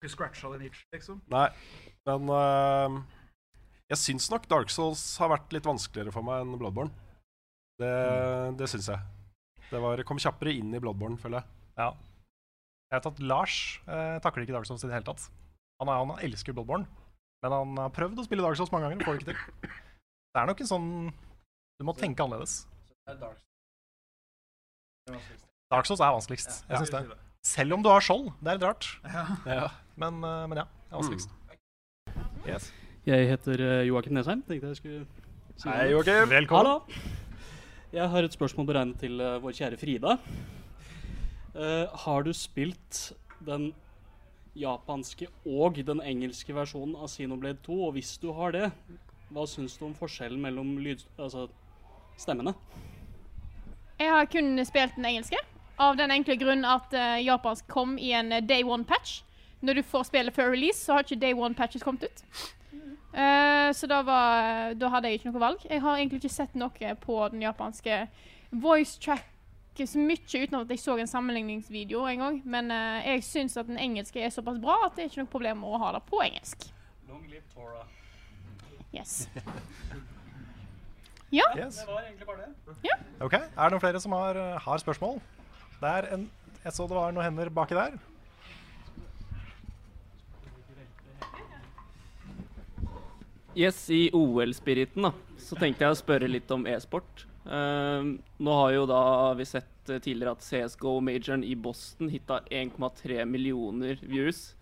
Ikke scratcha den itch, liksom.
Nei, men øh, jeg syns nok Dark Souls har vært litt vanskeligere for meg enn Bloodborne. Det, det syns jeg. Det var, kom kjappere inn i Bloodborne, føler jeg.
Ja. Jeg vet at Lars eh, takler ikke Dark Souls i det hele tatt. Han, er, han elsker Bloodborne, men han har prøvd å spille Dark Souls mange ganger og får det ikke til. Det er nok en sånn Du må tenke annerledes. Dark Souls er vanskeligst. jeg synes det. Selv om du har skjold. Det er litt rart. Men, eh, men ja, det er
Mm.
vanskeligst. Yes.
Jeg heter eh, Joakim Nesheim. Tenkte jeg skulle si
Hei,
noe.
Joakim.
Velkommen.
Hallo! Jeg har et spørsmål beregnet til eh, vår kjære Frida. Eh, har du spilt den japanske og den engelske versjonen av Xenoblade 2? Og hvis du har det, hva syns du om forskjellen mellom lyd... Altså stemmene?
Jeg har kun spilt den engelske. Av den enkle grunn at eh, japansk kom i en eh, day one-patch. Når du får spillet før release, så har ikke day one-patches kommet ut. Eh, så da, var, da hadde jeg ikke noe valg. Jeg har egentlig ikke sett noe på den japanske voice tracket så mye uten at jeg så en sammenligningsvideo en gang. Men eh, jeg syns at den engelske er såpass bra at det er ikke noe problem å ha det på engelsk.
Long live Tora.
Yes.
Yes.
var egentlig bare det.
Ok, Er det noen flere som har, eh, har spørsmål? Det er en, jeg så det var noen hender baki der.
Yes, i OL-spiriten da, så tenkte jeg å spørre litt om e-sport. Ehm, nå har jo da vi sett eh, tidligere at CSGO-majoren i Boston hitta 1,3 millioner views.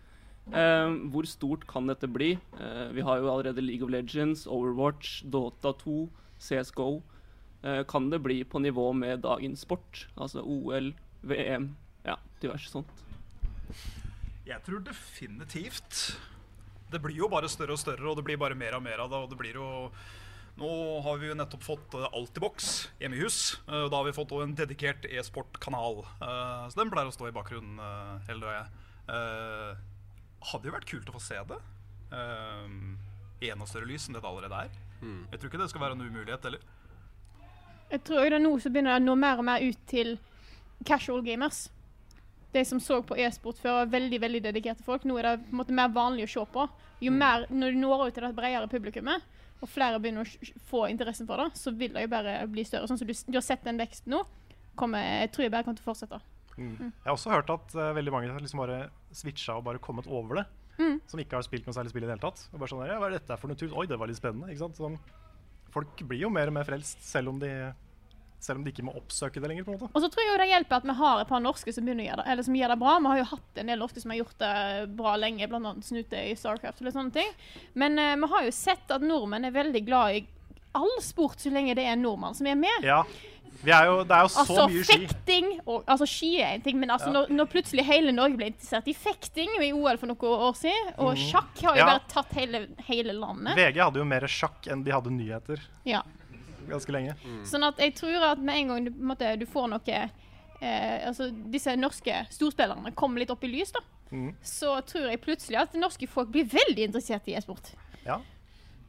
Ehm, hvor stort kan dette bli? Eh, vi har jo allerede League of Legends, Overwatch, Dota 2, CSGO. Eh, kan det bli på nivå med dagens sport? Altså OL, VM, ja, diverse sånt.
Jeg tror definitivt. Det blir jo bare større og større, og det blir bare mer og mer av det. Og det blir jo Nå har vi jo nettopp fått eh, Altibox hjemme i hus. eh, Og da har vi fått også en dedikert e-sportkanal. eh, Så den pleier å stå i bakgrunnen eh, hele døgnet. Eh, Hadde jo vært kult å få se det. eh, I enda større lys enn det det allerede er. Jeg tror ikke det skal være en umulighet heller.
Jeg tror det er nå som begynner det å nå mer og mer ut til casual gamers. De som så på e-sport før, var veldig veldig dedikerte folk. Nå er det på en måte mer vanlig å se på. Jo mer, Når du når ut til det bredere publikummet, og flere begynner å sj- få interessen for det, så vil det jo bare bli større. Sånn som du, s- du har sett den veksten nå. Kommer, jeg tror jeg bare kommer til å fortsette.
Jeg har også hørt at eh, veldig mange har liksom bare switcha og bare kommet over det. Som ikke har spilt noe særlig spill i det hele tatt. Og bare sånn, der, ja, hva er dette for noe tut? Oi, det var litt spennende. Ikke sant? Sånn, folk blir jo mer og mer frelst, selv om de, selv om de ikke må oppsøke det lenger. på en måte.
Og så tror jeg jo det hjelper at vi har et par norske som, begynner å gjøre det, eller som gjør det bra. Vi har jo hatt en del ofte som har gjort det eh, bra lenge, bl.a. Snute i Starcraft og litt sånne ting. Men eh, vi har jo sett at nordmenn er veldig glad i all sport så lenge det er en nordmann som er med.
Ja, vi er jo, Det er jo så
Altså
mye ski.
fekting og, Altså ski er en ting, men altså, når, når plutselig hele Norge ble interessert i fekting i OL for noen år siden, og sjakk har jo
Mm. Ja.
bare tatt hele, hele landet
VG hadde jo mer sjakk enn de hadde nyheter
ja.
ganske lenge.
Sånn at jeg tror at med en gang du, på en måte, du får noe eh, Altså disse norske storspillerne kommer litt opp i lys, da. Så tror jeg plutselig at norske folk blir veldig interessert i e-sport.
Ja.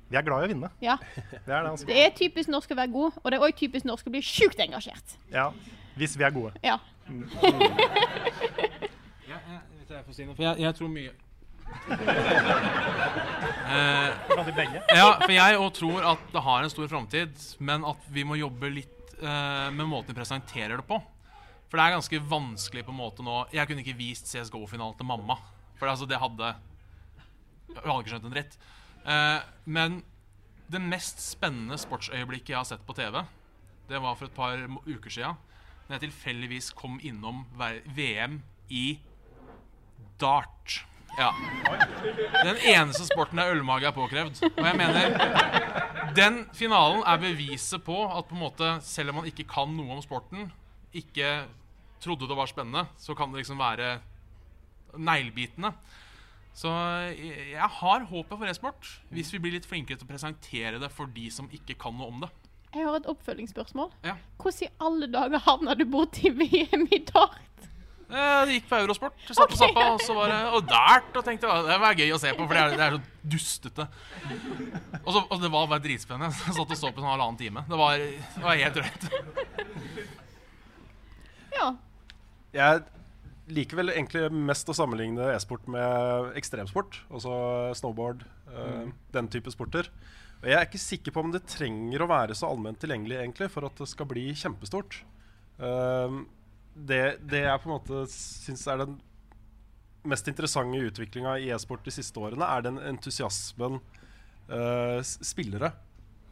Vi er glad i å vinne.
Ja.
Det er det, altså.
Det er typisk norsk å være god, og det er òg typisk norsk å bli sjukt engasjert.
Ja. Hvis vi er gode.
Ja.
Ja, ja, vet du, jeg får si noe, for jeg, jeg tror mye
Blant de begge.
Ja, for jeg òg tror at det har en stor framtid, men at vi må jobbe litt eh, med måten vi presenterer det på. For det er ganske vanskelig på en måte nå Jeg kunne ikke vist CSGO-finalen til mamma. For altså, det hadde Hun hadde ikke skjønt en dritt. Eh, men det mest spennende sportsøyeblikket jeg har sett på TV, det var for et par mo- uker sia. Da jeg tilfeldigvis kom innom ver- VM i dart. Ja. Den eneste sporten der ølmage er påkrevd. Og jeg mener Den finalen er beviset på at på en måte, selv om man ikke kan noe om sporten, ikke trodde det var spennende, så kan det liksom være neglebitende. Så eh, jeg jeg har håpet for e-sport, hvis vi blir litt flinkere til å presentere det for de som ikke kan noe om det.
Jeg har et oppfølgingsspørsmål.
Ja.
Hvordan i alle dager havna du borti VM i dart?
Eh, Det gikk på Eurosport. Jeg satt på
Ok.
Zappa, og så var det og dært. Og tenkte «Å, det var gøy å se på, for det er, det er så dustete. Og, så, og det var bare dritspennende. Jeg satt og så på en halvannen time. Det var, det var helt drøyt.
Ja.
Jeg liker vel egentlig mest å sammenligne e-sport med ekstremsport. Altså snowboard, eh, den type sporter. Og jeg er ikke sikker på om det trenger å være så allment tilgjengelig egentlig for at det skal bli kjempestort. Eh, det, det jeg på en måte syns er den mest interessante utviklinga i e-sport de siste årene, er den entusiasmen eh, s- spillere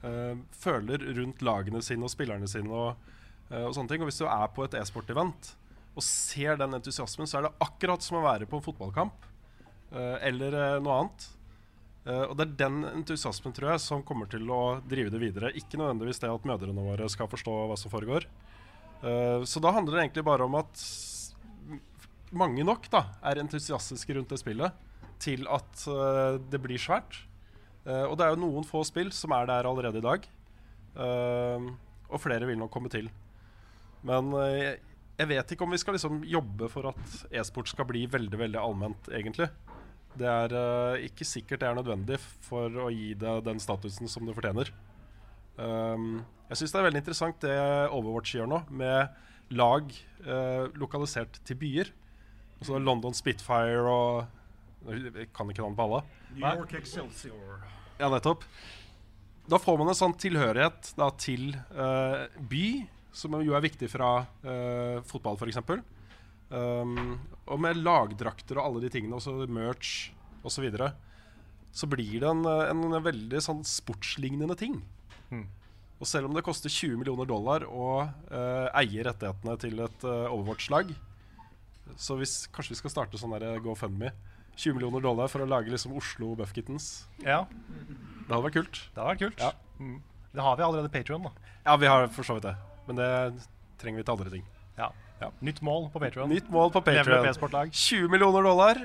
eh, føler rundt lagene sine og spillerne sine. og, eh, og sånne ting. Og hvis du er på et e-sport-event og ser den entusiasmen, så er det akkurat som å være på en fotballkamp eh, eller eh, noe annet. Eh, og det er den entusiasmen tror jeg som kommer til å drive det videre. Ikke nødvendigvis det at mødrene våre skal forstå hva som foregår. Eh, så da handler det egentlig bare om at s- m- mange nok da er entusiastiske rundt det spillet til at eh, det blir svært. Eh, og det er jo noen få spill som er der allerede i dag. Eh, og flere vil nok komme til. Men eh, jeg- jeg vet ikke om vi skal liksom jobbe for at e-sport skal bli veldig veldig allment, egentlig. Det er eh, ikke sikkert det er nødvendig for å gi det den statusen som det fortjener. Um, jeg syns det er veldig interessant det Overwatch gjør nå, med lag eh, lokalisert til byer. Altså London Spitfire og Jeg kan ikke navnet på alle.
New
York Excelsior. Ja, nettopp. Da får man en sånn tilhørighet da, til eh, by, som jo er viktig fra eh, fotball, f.eks. Um, og med lagdrakter og alle de tingene, også merch osv. Så, videre, så blir det en, eh, en veldig sånn sportslignende ting. Og selv om det koster 20 millioner dollar å eh, eie rettighetene til et eh, Overwatch-lag Så hvis, kanskje vi skal starte sånn der GoFundMe. 20 millioner dollar for å lage liksom Oslo Buff Kittens.
Ja,
Det hadde vært kult.
det har vært kult.
Ja.
Mm. Det har vi allerede Patreon da.
Ja, vi har for så vidt det. Men det trenger vi til andre ting.
Ja.
Ja.
Nytt mål på Patreon.
Nytt mål på
Level
Patreon.
up e-sportlag.
20 millioner dollar.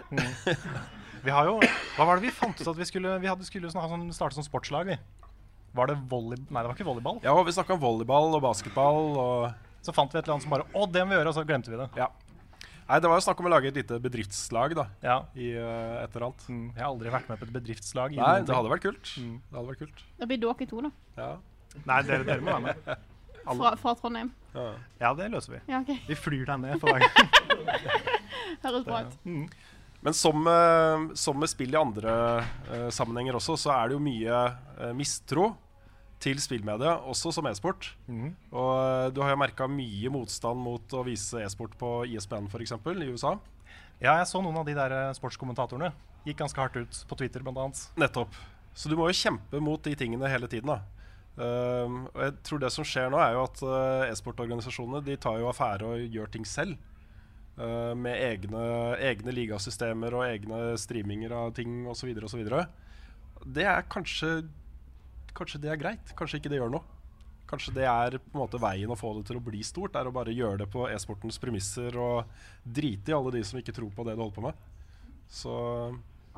Vi har jo Hva var det vi fant ut at vi skulle Vi hadde, skulle sånn, ha sånn, starte som sportslag, vi. Var det volley... Nei, det var ikke volleyball.
Ja, og vi snakka om volleyball og basketball og
Så fant vi et eller annet som bare Å, det må vi gjøre, og så glemte vi det.
Ja. Nei, det var jo snakk om å lage et lite bedriftslag, da.
Ja.
I eh, et eller annet.
Mm, Jeg har aldri vært med på et bedriftslag. i
Nei,
noen
det
ting.
hadde vært kult. Det hadde vært kult.
Da blir dere to, da.
Ja.
Nei, dere, dere må være med.
Fra, fra Trondheim.
Ja, det løser vi.
Ja, OK.
Vi flyr deg ned for hver gang.
Høres bra ut.
Men som, eh, som med spill i andre eh, sammenhenger også, så er det jo mye eh, mistro til spillmedia, også som e-sport.
Mhm.
Og eh, du har jo merka mye motstand mot å vise e-sport på ISBN, f.eks., i USA.
Ja, jeg så noen av de der eh, sportskommentatorene. Gikk ganske hardt ut på Twitter, blant annet.
Nettopp. Så du må jo kjempe mot de tingene hele tiden. da. Ehm, og jeg tror det som skjer nå, er jo at eh, e-sportorganisasjonene de tar jo affære og gjør ting selv. Eh, med egne, egne ligasystemer og egne streaminger av ting osv. osv. Det er kanskje Kanskje det er greit. Kanskje ikke det gjør noe. Kanskje det er på en måte veien å få det til å bli stort, er å bare gjøre det på e-sportens premisser og drite i alle de som ikke tror på det du holder på med. Så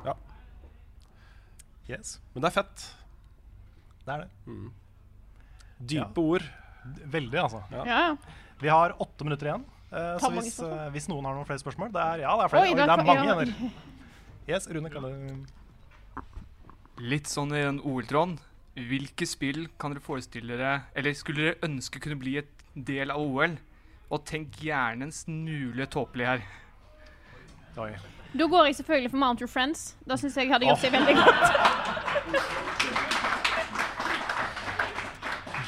ja.
Yes,
Men det er fett.
det er det.
Dype
Ja.
ord.
Veldig, altså.
Ja, ja.
Vi har åtte minutter igjen. eh,
Ta
så
mange
hvis,
spørsmål.
eh, hvis noen har noen flere spørsmål det er, Ja, det er flere.
Oi,
Oi,
det
det
er
er
fa-
mange
ja.
igjen. Yes, Rune kan du
Litt sånn i den OL-tråden. Hvilke spill kan dere forestille dere, eller skulle dere ønske kunne bli et del av OL? Og tenk gjerne en smule tåpelig her.
Oi.
Da går jeg selvfølgelig for Mount Your Friends. Da syns jeg hadde gjort seg veldig godt.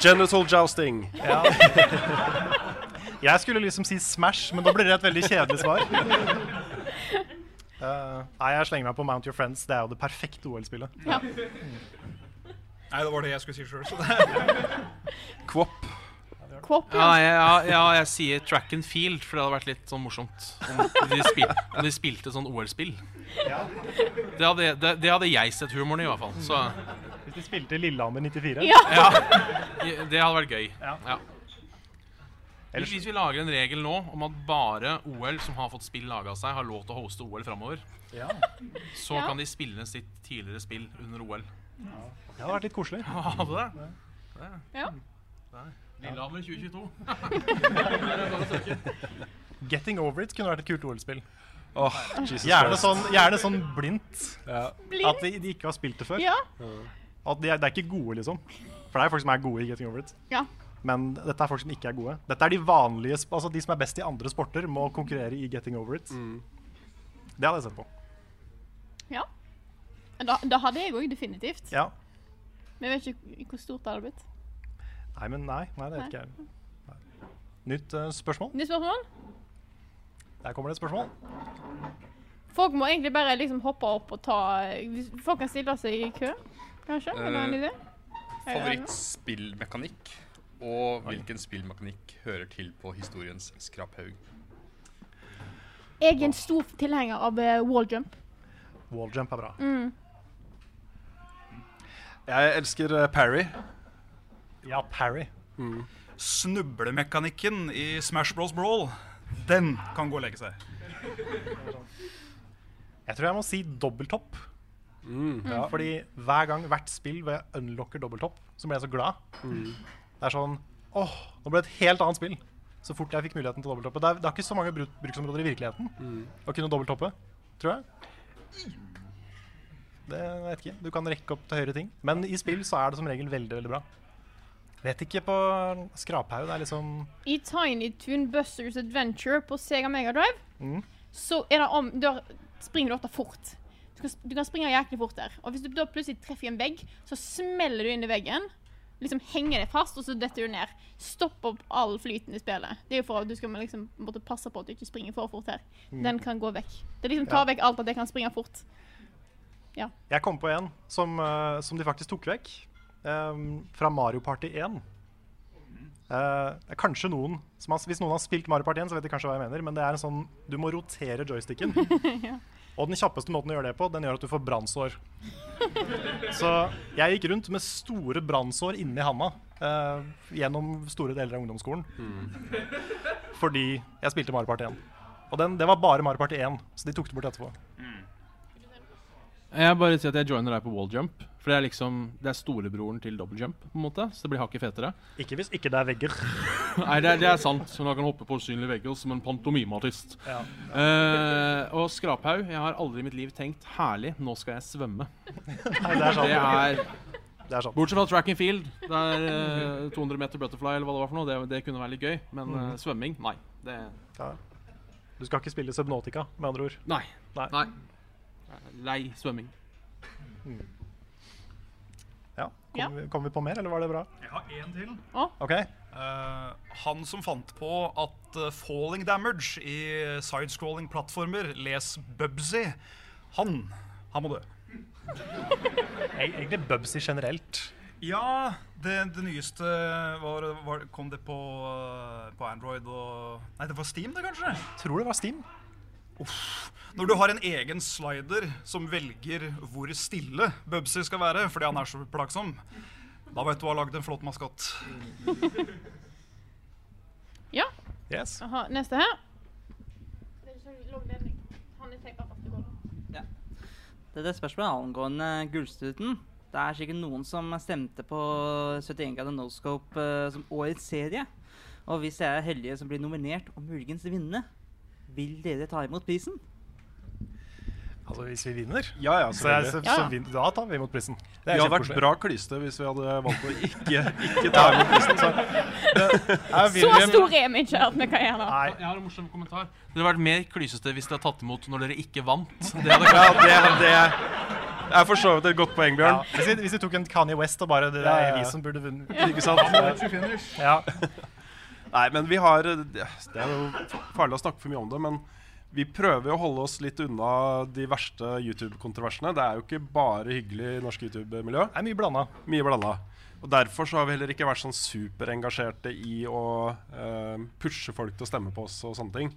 Genital jousting.
Ja. Jeg skulle liksom si Smash, men da blir det et veldig kjedelig svar. Eh, nei, jeg slenger meg på Mount Your Friends. Det er jo det perfekte OL-spillet.
Nei, det var det jeg skulle si sjøl.
Kvop.
Kåp, ja.
Ja, jeg, ja, ja, jeg sier track and field, for det hadde vært litt sånn morsomt om de, spil, om de spilte sånn OL-spill. Det, hadde, det, det hadde jeg sett humoren i, i hvert fall. Så
Hvis de spilte Lillehammer 94.
Ja.
ja, det hadde vært gøy.
Ja.
Ja.
Ellers-
Hvis vi lager en regel nå om at bare OL som har fått spill laga seg, har lov til å hoste OL framover,
Ja.
så
Ja.
kan de spille sitt tidligere spill under OL.
Det hadde vært litt koselig.
Hva hadde det?
Ja.
Lillehammer 2022.
Getting Over It kunne vært et kult OL-spill.
Åh, Jesus
Gjerne
Christ.
sånn, gjerne sånn blindt.
Ja.
At de, de ikke har spilt det før.
ja.
At de er, det er ikke gode, liksom. For det er folk som er gode i Getting Over It.
Ja.
Men dette er folk som ikke er gode. Dette er De vanlige, sp- altså de som er best i andre sporter, må konkurrere i Getting Over It. Det hadde jeg sett på.
ja. Da, da hadde jeg òg definitivt.
Ja.
Men jeg vet ikke hvor stort det hadde blitt.
Nei, men nei. nei det vet ikke jeg. Nei. Nytt eh, spørsmål.
Nytt spørsmål?
Der kommer det et spørsmål.
Folk må egentlig bare liksom hoppe opp og ta hvis- Folk kan stille seg i kø, kanskje? Er det en
Eh,
idé? Er det noe?
Favorittspillmekanikk? Og hvilken spillmekanikk hører til på historiens skraphaug?
Jeg er en stor tilhenger av eh, wall jump.
Walljump er bra.
Jeg elsker eh, Parry.
Ja, Parry.
Snublemekanikken i Smash Bros. Brawl, den kan gå og legge seg.
Jeg tror jeg må si dobbelthopp. Ja. Fordi hver gang hvert spill hvor jeg unlocker dobbelthopp, så blir jeg så glad. Det er sånn åh, nå ble det et helt annet spill. Så fort jeg fikk muligheten til dobbelthoppe. Det er, det er ikke så mange bruk bruksområder i virkeligheten å kunne dobbelthoppe, tror jeg. Det jeg vet ikke. Du kan rekke opp til høyere ting. Men i spill så er det som regel veldig, veldig bra. Vet ikke på skraphaug. Det er liksom
I Tiny Toon Busters Adventure på Sega Mega Drive,
Mhm.
så er det om Da springer du ofte fort. Du kan, du kan springe jæklig fort der. Og hvis du da plutselig treffer en vegg, så smeller du inn i veggen. Liksom henger deg fast, og så detter du ned. Stopp opp all flyten i spillet. Det er jo for at du skal liksom måtte passe på at du ikke springer for fort her. Den kan gå vekk. Det liksom tar
Ja.
vekk alt at jeg kan springe fort.
Jeg kom på en som, eh, som de faktisk tok vekk. eh, fra Mario Party 1. Eh, det er kanskje noen som har, Hvis noen har spilt Mario Party 1, så vet de kanskje hva jeg mener. Men det er en sånn Du må rotere joysticken. Og den kjappeste måten å gjøre det på, den gjør at du får brannsår. Så jeg gikk rundt med store brannsår inni handa eh, gjennom store deler av ungdomsskolen. Fordi jeg spilte Mario Party 1. Og den, det var bare Mario Party 1, så de tok det bort etterpå.
Jeg bare sier at jeg joiner deg på walljump. For det er liksom Det er storebroren til dobbeltjump, på en måte. Så det blir hakket fetere.
Ikke hvis ikke det er vegger.
Nei, det er, det er sant. Hun kan hoppe på usynlige vegger som en pantomimeartist.
Ja.
Eh, og skraphaug. Jeg har aldri i mitt liv tenkt 'herlig, nå skal jeg svømme'.
Nei, det er sant.
Det er
Det er sant.
Bortsett fra track and field, der eh, 200 meter butterfly eller hva det var for noe, det, det kunne være litt gøy. Men eh, svømming, nei. Det,
Du skal ikke spille Subnautica, med andre ord.
nei.
Nei.
Lei svømming.
Ja. Kom, Vi, kom vi på mer, eller var det bra?
Jeg har én til.
OK.
Eh, han som fant på at eh, falling damage i sidescrolling plattformer, les Bubsy, han, han må dø.
Eg- Egentlig Bubsy generelt.
Ja, det, det nyeste var, var Kom det på, eh, på Android og Nei, det var Steam, det, kanskje?
Tror det var Steam.
Når du har en egen slider som velger hvor stille Bubsy skal være fordi han er så plagsom, da vet du du har lagd en flott maskott.
Ja.
Yes.
Aha, neste her.
Dette spørsmålet er angående Gullstruten. Det er sikkert noen som stemte på 71 grader Noscope eh, som årets serie. Og hvis jeg er heldige som blir nominert og muligens vinne, vil dere ta imot prisen?
Altså, hvis vi vinner,
Ja, ja,
så, jeg,
selvfølgelig.
så,
Ja,
så
ja.
vin, da tar vi imot prisen.
Det hadde vært bra klyste hvis vi hadde valgt å ikke, ikke ta imot prisen. Så. Det er
Så
William-
stor er vi ikke at vi kan gjøre det.
Jeg har en morsom kommentar. Det hadde vært mer klysete hvis dere hadde tatt imot når dere ikke vant. Det
Ja,
hadde
det, det er for så vidt et godt poeng, Bjørn.
Hvis, vi, hvis vi tok en Kanye West og bare Det
Ja,
er
ja, ja.
vi som burde vunnet.
Ikke sant?
Ja.
Nei, men vi har Det er jo farlig å snakke for mye om det, men vi prøver å holde oss litt unna de verste YouTube-kontroversene. Det er jo ikke bare hyggelig i norsk YouTube-miljø.
Det er mye blanda.
Mye blanda. Og Derfor så har vi heller ikke vært sånn superengasjerte i å eh, pushe folk til å stemme på oss og sånne ting.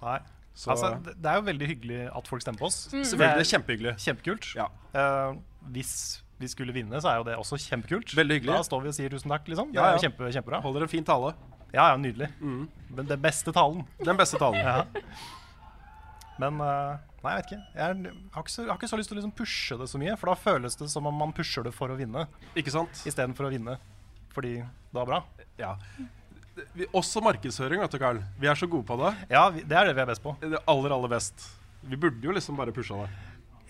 Nei.
Så
Altså, det det er jo veldig hyggelig at folk stemmer på oss.
Mm. Selvfølgelig, kjempehyggelig.
Kjempekult.
Ja.
Eh, hvis vi skulle vinne, så er jo det også kjempekult.
Veldig hyggelig.
Da står vi og sier tusen takk, liksom.
Ja,
Det er
ja.
jo kjempe, kjempebra.
holder en fin tale.
Ja, ja, nydelig. Men den beste talen.
Den beste Mm. talen.
Ja. Men eh, Nei, jeg vet ikke. Jeg, er, har, ikke så, jeg har ikke så lyst til å liksom pushe det så mye, for da føles det som om man pusher det for å vinne
Ikke sant?
istedenfor å vinne fordi det er bra.
Ja. Vi, også markedsføring, vet du, Karl. Vi er så gode på det.
Ja, vi, det er det vi er best på,
Det aller, aller best. Vi burde jo liksom bare pusha det,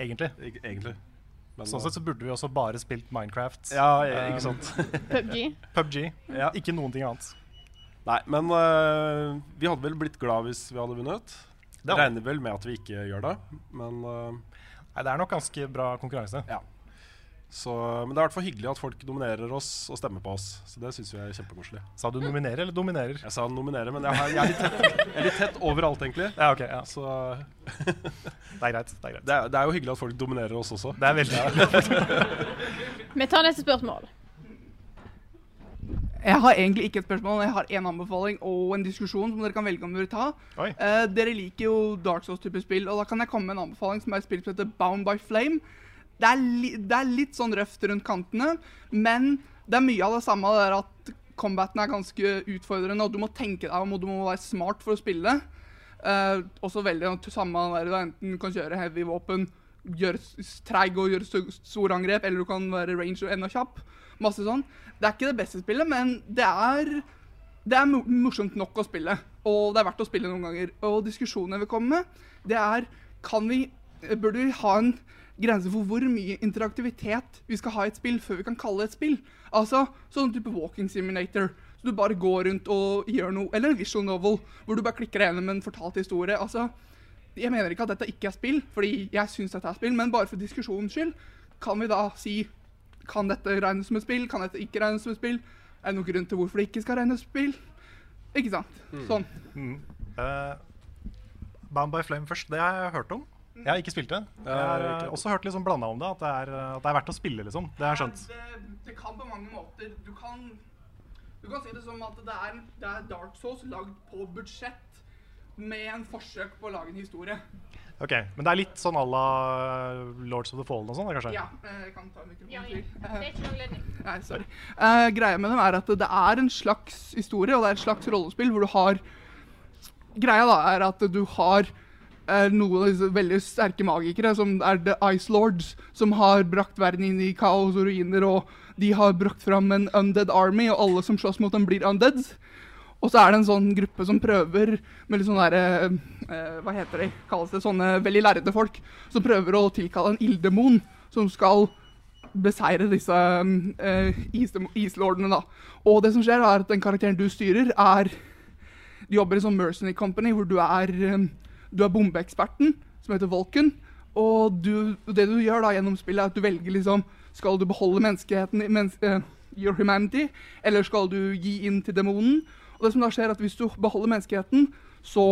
egentlig.
eg- egentlig. Men,
Sånn sett så burde vi også bare spilt Minecraft.
Ja, eh,
eh,
ikke sant.
PubG.
PubG.
Ja.
Ikke noen ting annet.
Nei, men eh, vi hadde vel blitt glad hvis vi hadde vunnet.
Det hadde-
Regner vel med at vi ikke gjør det, men eh,
Nei, det er nok ganske bra konkurranse.
ja. Så, men det er i hvert fall hyggelig at folk nominerer oss og stemmer på oss. Så det syns vi er kjempekoselig.
Sa du nominere eller dominerer?
Jeg sa nominere, men jeg, har, jeg, er litt tett, jeg er litt tett overalt, egentlig.
Ja, ok. Ja.
Så
Det er greit. Det er greit.
det er, det er jo hyggelig at folk dominerer oss også.
Det er veldig
Vi tar neste spørsmål.
Jeg har egentlig ikke et spørsmål, jeg har en anbefaling og en diskusjon som dere kan velge om dere vil ta.
Oi.
Eh, dere liker jo Dark Souls-type spill, og da kan jeg komme med en anbefaling som er et spill som heter Bound by Flame. Det er, li det er litt sånn røft rundt kantene, men det er mye av det samme det er at combaten er ganske utfordrende, og du må tenke deg om, og du må være smart for å spille det. Eh, også veldig det samme der, da, enten du kan kjøre heavy våpen, gjøre s- s- treig og gjøre sto- store angrep, eller du kan være ranger og enda kjapp. Masse sånn. Det er ikke det beste spillet, men det er, det er mo- morsomt nok å spille. Og det er verdt å spille noen ganger. Og diskusjonen jeg vil komme med, det er kan vi, eh, Burde vi ha en grense for hvor mye interaktivitet vi skal ha i et spill før vi kan kalle det et spill? Altså sånn type walking simulator. Så du bare går rundt og gjør noe. Eller en visual novel, hvor du bare klikker deg gjennom en fortalt historie. Altså, jeg mener ikke at dette ikke er spill, fordi jeg syns dette er spill, men bare for diskusjonens skyld, kan vi da si Kan dette regnes som et spill? Kan dette ikke regnes som et spill? Er det noen grunn til hvorfor det ikke skal regnes som et spill? Ikke sant? Sånn.
Eh, Bound by Flame først, det har jeg hørt om. Jeg har ikke spilt det. Jeg har
ikke
eh, også hørt liksom blanda om det, at det, er, eh, at det er verdt å spille, liksom. Det har jeg skjønt.
Det, det kan på mange måter. Du kan, du kan si det som at det er, det er Dark Souls lagd på budsjett med en forsøk på å lage en historie.
Ok, Men det er litt sånn à la Lords of the Fallen og sånn, da, kanskje?
Ja, eh, jeg kan ta mikrofonen. Eh,
Det er ikke noe ledning.
Nei, sorry. Eh, greia med dem er at det er en slags historie, og det er et slags rollespill hvor du har Greia da er at du har eh, noen av disse veldig sterke magikere, som er The Ice Lords, som har brakt verden inn i kaos og ruiner, og de har brakt fram en undead army, og alle som slåss mot dem, blir undeads. Og så er det en sånn gruppe som prøver med litt sånn derre eh, Hva heter de? Kalles det sånne veldig lærde folk. Som prøver å tilkalle en ilddemon som skal beseire disse um, eh, isdem- islordene, da. Og det som skjer, er at den karakteren du styrer, er Du jobber i sånn Mercenary Company, hvor du er, um, du er bombeeksperten, som heter Volken. Og du, det du gjør da gjennom spillet, er at du velger liksom Skal du beholde menneskeheten i mens, eh, your humanity, eller skal du gi inn til demonen? Og det som da skjer, er at hvis du beholder menneskeheten, så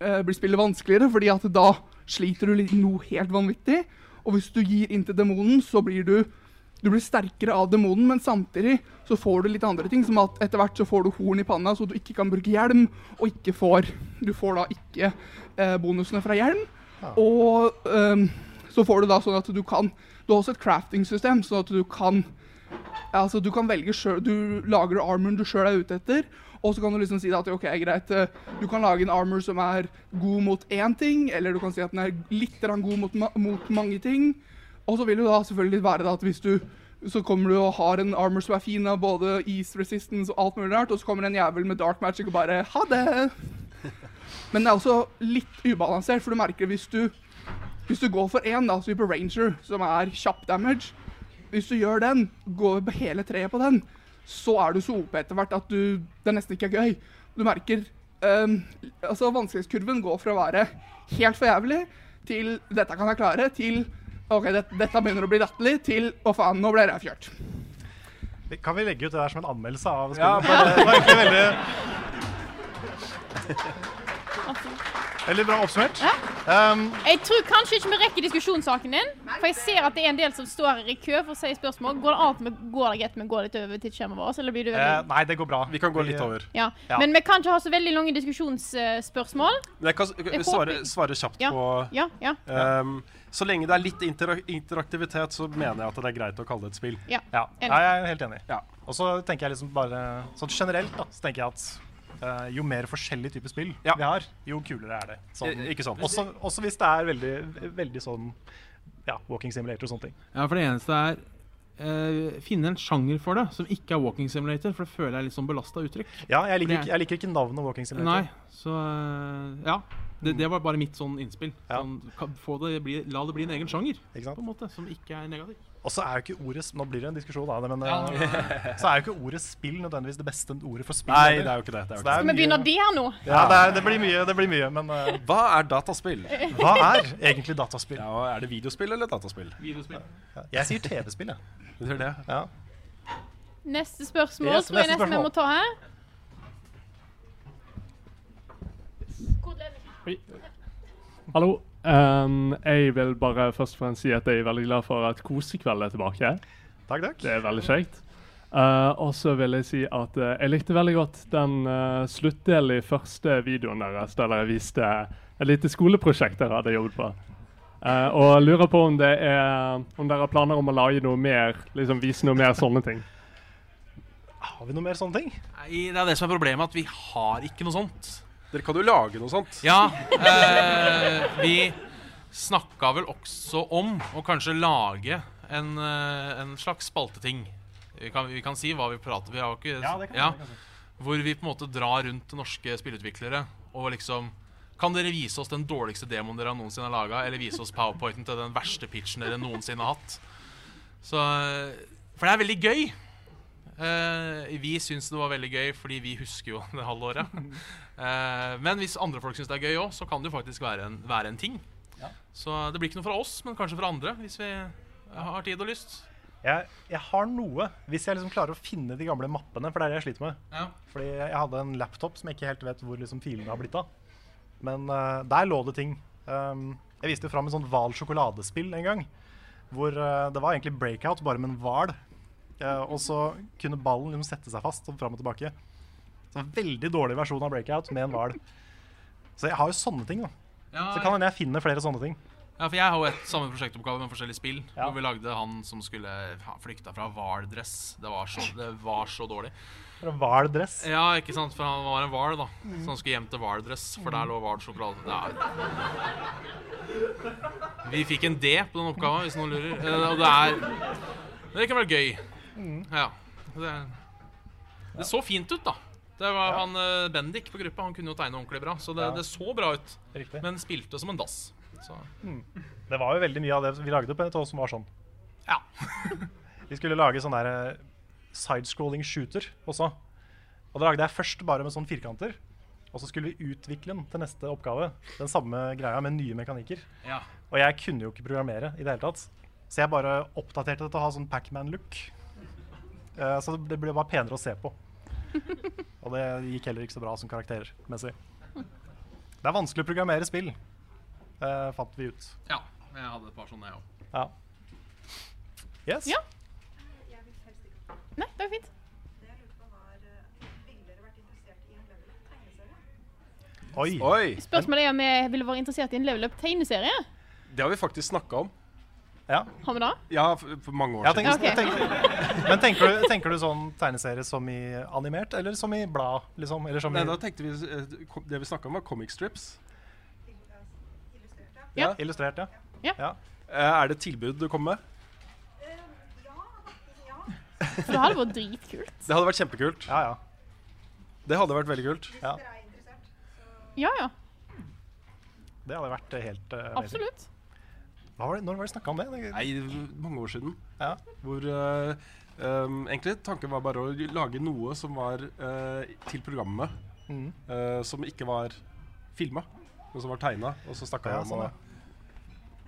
eh, blir spillet vanskeligere, fordi at da sliter du litt noe helt vanvittig. Og hvis du gir inn til demonen, så blir du du blir sterkere av demonen, men samtidig så får du litt andre ting, som at etter hvert så får du horn i panna, så du ikke kan bruke hjelm, og ikke får Du får da ikke eh, bonusene fra hjelm. Og ehm, så får du da sånn at du kan Du har også et crafting-system, sånn at du kan ja, altså Du kan velge selv, du lager armoren du sjøl er ute etter, og så kan du liksom si at ok, greit, eh, du kan lage en armor som er god mot én ting, eller du kan si at den er litt grann god mot, ma mot mange ting. Og så vil det da selvfølgelig være da at hvis du så kommer du og har en armor som er fin av både East Resistance og alt mulig rart, og så kommer en jævel med dark magic og bare ha det! Men det er også litt ubalansert, for du merker hvis du Hvis du går for én, da, så vi på Ranger, som er kjapp damage Hvis du gjør den, går på hele treet på den, så er du så OP etter hvert at du Det nesten ikke er gøy. Du merker ehm, Altså, vanskelighetskurven går fra å være helt for jævlig til 'dette kan jeg klare', til 'OK, det, dette begynner å bli latterlig', til 'å faen, nå ble jeg fjørt'.
Kan vi legge ut det der som en anmeldelse av spillet?
Ja,
For
bare-
det var egentlig veldig Veldig bra oppsummert. Um,
Jeg tror kanskje ikke vi rekker diskusjonssaken din, for jeg ser at det er en del som står her i kø for å si spørsmål. Går det an at vi går deg etter vi går litt over til skjermen vår, eller blir du
eh,
veldig
nei, det går bra. Vi kan gå
eh,
litt over.
ja. Men vi kan ikke ha så veldig lange diskusjonsspørsmål.
Men jeg kan s-
Jeg
svare,
håper-
svare kjapt
Ja,
på
ja, ja.
Ehm, Så lenge det er litt interak interaktivitet, så mener jeg at det er greit å kalle det et spill.
Ja,
Ja,
enig.
jeg er helt enig. Og så tenker jeg liksom bare Sånn generelt da, så tenker jeg at eh, jo mer forskjellige typer spill vi har, jo kulere er det. Sånn.
I- ikke sant.
Også, også hvis det er veldig, veldig sånn ja, walking simulator og sånne ting.
Ja, for det eneste er eh, finne en sjanger for det som ikke er walking simulator, for det føler jeg er litt sånn belasta uttrykk.
Ja, jeg
For
liker,
det
ikke,
er-
jeg liker ikke navnet walking simulator.
Nei, så eh, Ja. Det, det var bare mitt sånn innspill. Sånn, kan- få det, bli, la det bli en egen sjanger, på en måte, som ikke er negativ.
Og så er jo ikke ordet s- Nå blir det en diskusjon av det, men
Ja,
eh,
ja, ja.
så er jo ikke ordet spill nødvendigvis det beste ordet for spill.
Nei,
heller.
det er jo ikke det, det er jo
Så
ikke
er
Skal vi
mye-
begynne der nå?
Ja, det, er, det blir mye, det blir mye, men eh, Hva er dataspill? Hva er egentlig dataspill?
er det videospill eller dataspill?
Videospill.
Jeg sier TV-spill, jeg.
Det er det.
Ja.
Neste spørsmål
Yes,
tror jeg
neste
nesten vi
spørsmål.
må ta her.
Hallo. Ehm, jeg vil bare først og fremst si at jeg er veldig glad for at Kosekveld er tilbake.
Takk, takk.
Det er veldig kjekt. Eh, og så vil jeg si at eh, jeg likte veldig godt den eh, sluttdelen i første videoen deres der dere viste et lite skoleprosjekt dere hadde jobbet på. Eh, og lurer på om, det er, om dere har planer om å lage noe mer, liksom vise noe mer sånne ting.
Har vi noe mer sånne ting?
Nei, det er det som er problemet, at vi har ikke noe sånt.
Dere kan jo lage noe sånt.
Ja. Eh, vi snakka vel også om å kanskje lage en, eh, en slags spalteting. Vi kan, vi kan si hva vi prater Vi har jo ikke
Ja, det kan vi, det kan
Hvor vi på en måte drar rundt til norske spillutviklere og liksom Kan dere vise oss den dårligste demoen dere noensinne har laga? Eller vise oss powerpointen til den verste pitchen dere noensinne har hatt? Så, eh, for det er veldig gøy. Eh, vi syns det var veldig gøy, fordi vi husker jo det halve året. Eh, men hvis andre folk syns det er gøy òg, så kan det jo faktisk være en, være en ting. Så det blir ikke noe fra oss, men kanskje fra andre, hvis vi har tid og lyst.
Jeg, jeg har noe, hvis jeg liksom klarer å finne de gamle mappene, for det er det jeg sliter med.
Ja.
Fordi jeg hadde en laptop som jeg ikke helt vet hvor liksom filene har blitt av. Men eh, der lå det ting. Um, jeg viste fram en sånn hval sjokoladespill en gang. Hvor eh, det var egentlig breakout, bare med en hval. Eh, og så kunne ballen liksom sette seg fast sånn fram og tilbake. Så en veldig dårlig versjon av breakout med en hval. Så jeg har jo sånne ting, da.
Ja,
så kan hende jeg finner flere sånne ting.
Ja, for jeg har jo et samme prosjektoppgave med forskjellige spill. Hvor vi lagde han som skulle ha flykta fra hvaldress. Det, var så- det var så dårlig.
Fra Hval-dress.
Ja, ikke sant, for han var en hval, da.
Mm.
Så han skulle hjem til hvaldress, for der lå hvalsjokolade. Nei. Vi fikk en D på den oppgaven, hvis noen lurer. Eh, Og det er Men det kan være gøy. Ja. Det, det så fint ut, da. Det var han eh, Bendik på gruppa. Han kunne jo tegne ordentlig bra, så det,
Ja.
det så bra ut.
Riktig.
Men spilte som en dass. Så.
Mm. Det var jo veldig mye av det vi lagde på NTH som var sånn.
Ja.
vi skulle lage sånn der eh, sidescrolling shooter også. Og da lagde jeg først bare med sånne sånn firkanter. Og så skulle vi utvikle den til neste oppgave. Den samme greia med nye mekanikker.
Ja.
Og jeg kunne jo ikke programmere i det hele tatt. Så jeg bare oppdaterte det til å ha sånn Pacman-look. Eh, så det ble bare penere å se på. Og det gikk heller ikke så bra som karaktermessig. Det er vanskelig å programmere spill, eh, fant vi ut.
Ja, jeg hadde et par sånne, jeg òg.
Ja. Yes.
Ja. Nei, det var fint.
Oi.
Spørsmålet er om jeg ville vært interessert i en level up-tegneserie.
Det har vi faktisk snakka om.
Ja.
Har vi det?
Ja, for for mange år
Jeg tenker,
Ok.
tenker, men tenker du, tenker du sånn tegneserie som i animert, eller som i blad? Liksom? Eller som
Nei,
i
da tenkte vi eh, kom- Det vi snakka om, var comic strips.
Ja. Illustrert, ja.
Eh, Er det et tilbud du kommer med?
For det hadde vært dritkult.
Det hadde vært kjempekult. Det hadde vært veldig kult.
Ja, ja.
Det hadde vært eh, helt eh, amazing.
Absolutt.
Hva var det, når var det snakka om det? Det-
Nei, mange år siden.
Ja.
Hvor eh, um, egentlig tanken var bare å lage noe som var eh, til programmet,
Mhm.
eh, som ikke var filma, men som var tegna, og så snakka vi
Ja,
om det.
sånn, ja.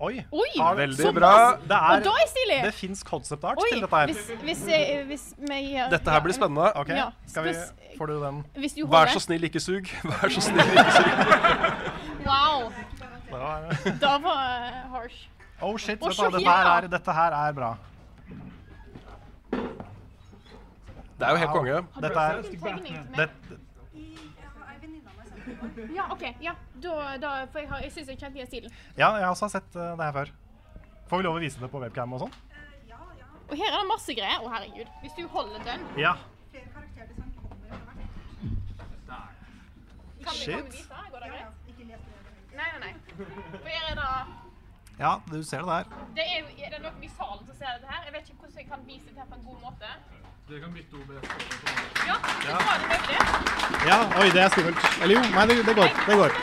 Oi!
Oi,
Har-
Veldig
såpass.
bra.
Det er,
Og da er stilig.
Det fins concept art
Oi,
til dette her.
hvis, hvis, jeg, hvis vi gjør
Dette her blir spennende.
Ok,
Ja,
Skal vi,
spes-
får du den?
Hvis du
Vær
holder-
så snill, ikke sug. Vær så snill, ikke sug.
Wow.
Det var-
Da var eh, harsh.
Oh shit,
Å,
vet du hva,
så
dette, her
ja!
er, dette her er bra.
Det er jo helt konge.
Dette er det,
Ja, OK. Ja, da, da For jeg, har- jeg syns jeg kjente igjen stilen.
Ja, jeg også har sett eh, det her før. Får vi lov å vise det på webcam og sånn?
Og her er det masse greier. Å, herregud. Hvis du holder den
Ja.
Kan vi komme
Shit.
dit, da? Går det greit? Nei, nei, nei. For her er det
ja, du ser det der.
Det er, jo- er det noen i salen som ser dette her? Jeg vet ikke hvordan jeg kan vise dette her på en god måte.
Dere kan bytte OBS.
Ja,
Ja.
ja. det er det.
Ja, oi, det er skummelt. Eller jo, nei, det, det går. Det går.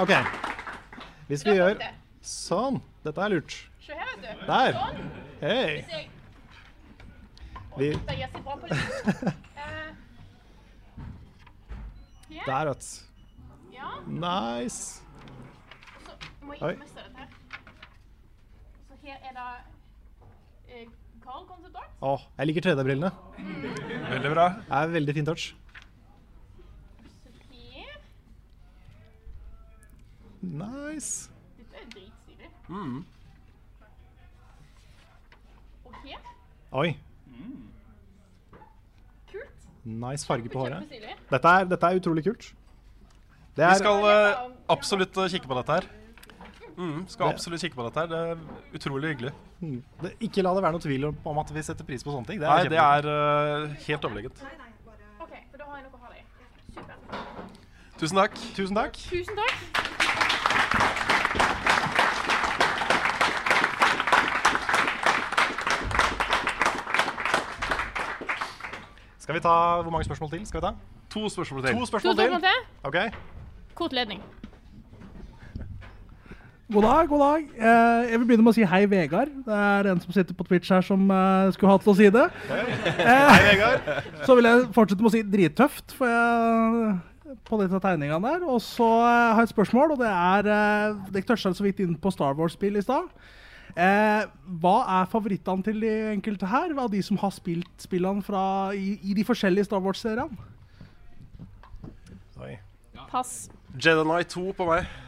OK. Hvis vi gjør sånn Dette er lurt.
Se her, vet du.
Der.
Sånn.
Hei.
Hvis jeg-
Vi
Det gjør seg bra på lyd. Eh, ja.
Der, vet du.
Ja.
Nice.
Og så må jeg
Oi.
ikke miste dette her. Og Så her er det eh, Carl Concept Art.
Å, jeg liker 3D-brillene.
Veldig bra.
Det er veldig fin touch.
Så her.
Nice.
Dette er dritstilig.
Mm.
Og her.
Oi.
Kult.
Nice farge på håret.
Kjempestilig.
Dette er, dette er utrolig kult. Det
Vi
er
skal eh, absolutt eh, kikke på dette her. Mm, skal
Det-
absolutt kikke på dette her. Det er utrolig hyggelig.
Mm. det, Ikke la det være noe tvil om, om at vi setter pris på sånne ting.
Nei, det
kjempe-
er eh, helt overlegent.
OK, for da har jeg noe å ha deg. Supert.
Tusen takk.
Tusen takk.
Tusen takk.
Skal vi ta Hvor mange spørsmål til? skal vi ta?
To spørsmål
til.
To spørsmål til.
Ok.
Kort ledning.
God dag, god dag. Eh, jeg vil begynne med å si hei, Vegard. Det er en som sitter på Twitch her som eh, skulle hatt til å si det. Eh,
Hei, Vegard.
Så vil jeg fortsette med å si drittøft for jeg, på disse tegningene der. Og så eh, har jeg et spørsmål, og det er eh, Dere toucha så vidt inn på Star Wars-spill i stad. Eh, hva er favorittene til de enkelte her, av de som har spilt spillene fra, i, i de forskjellige Star Wars-seriene?
Oi.
Pass.
Jedi Knight 2 på meg.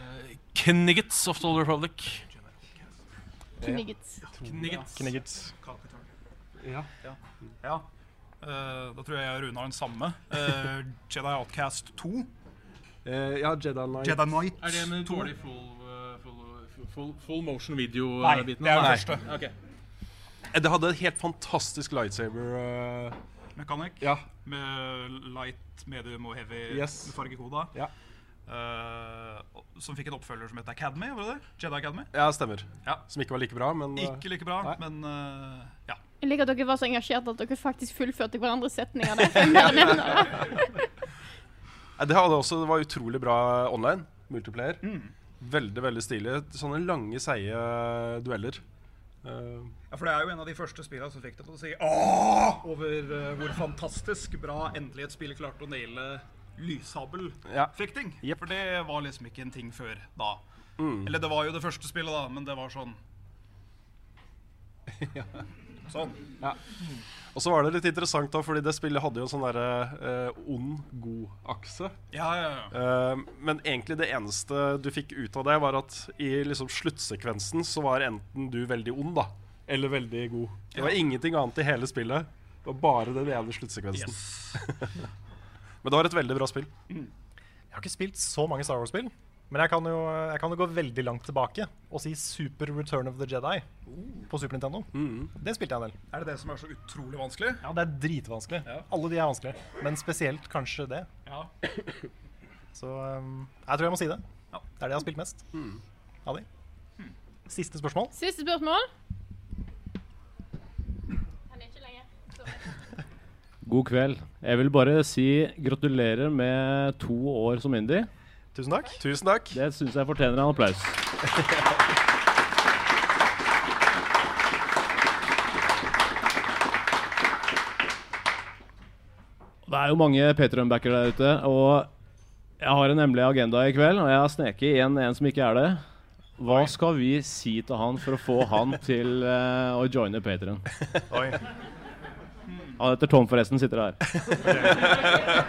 Kniggets of the Old Republic.
Kniggets.
Kniggets.
Kniggets.
Ja. ja. Eh, da tror jeg jeg og Rune har den samme. Eh, Jedi Outcast 2.
Eh, ja, Jedi Knight.
Jedi Knight.
Er det med dårlig full, eh, full, full, full, full motion
Nei, det
video-biten?
er den første.
Eh, Det hadde en helt fantastisk lightsaber eh,
Mechanic.
Ja.
Med light, medium og heavy
Yes.
med fargekoda.
Ja.
Eh, og- som fikk en oppfølger som het Academy. var det det? Jedi Academy.
Ja, stemmer.
Ja.
Som ikke var like bra, men eh,
Ikke like bra, men eh, ja.
Jeg liker at dere var så engasjert at dere faktisk fullførte hverandres setninger. der. Jeg bare nevner det.
eh, Det hadde også, det var utrolig bra online.
Mm.
Multiplayer. Veldig, veldig stilig. Sånne lange, seige eh, dueller. Eh,
Ja, for det er jo en av de første spillene som fikk deg til å si åh! Over eh, hvor fantastisk bra endelig et spill klarte å naile lyssabelfekting.
For det var liksom ikke en ting før da.
Mm.
Eller det var jo det første spillet, da, men det var sånn.
Sånn.
Og så var det litt interessant, da, fordi det spillet hadde jo en sånn derre eh, ond-god-akse.
Ja, ja,
Eh, men egentlig det eneste du fikk ut av det, var at i liksom sluttsekvensen så var enten du veldig ond, da, eller veldig god. Det var
Ja.
ingenting annet i hele spillet. Det var bare den ene sluttsekvensen. men det var et veldig bra spill.
Jeg har ikke spilt så mange Star Wars-spill, men jeg kan, jo, jeg kan jo gå veldig langt tilbake og si Super Return of the Jedi på Super Nintendo. Det spilte jeg en del.
Mm. Er det det som er så utrolig vanskelig?
Ja, det er dritvanskelig. Alle de er vanskelige, men spesielt kanskje det.
Ja.
Så um, jeg tror jeg må si det. Det er det jeg har spilt mest.
Mm.
Av de. Siste spørsmål.
Siste spørsmål. Han er ikke lenger.
God kveld. Jeg vil bare si gratulerer med to år som indie.
Tusen takk.
Tusen takk.
Det syns jeg fortjener en applaus. Det er jo mange Patreon-backer der ute, og jeg har en hemmelig agenda i kveld. Og jeg har sneket igjen en som ikke er det. Hva skal vi si til han for å få han til eh, å joine Patreon?
Oi.
Han heter Tom, forresten. Sitter her.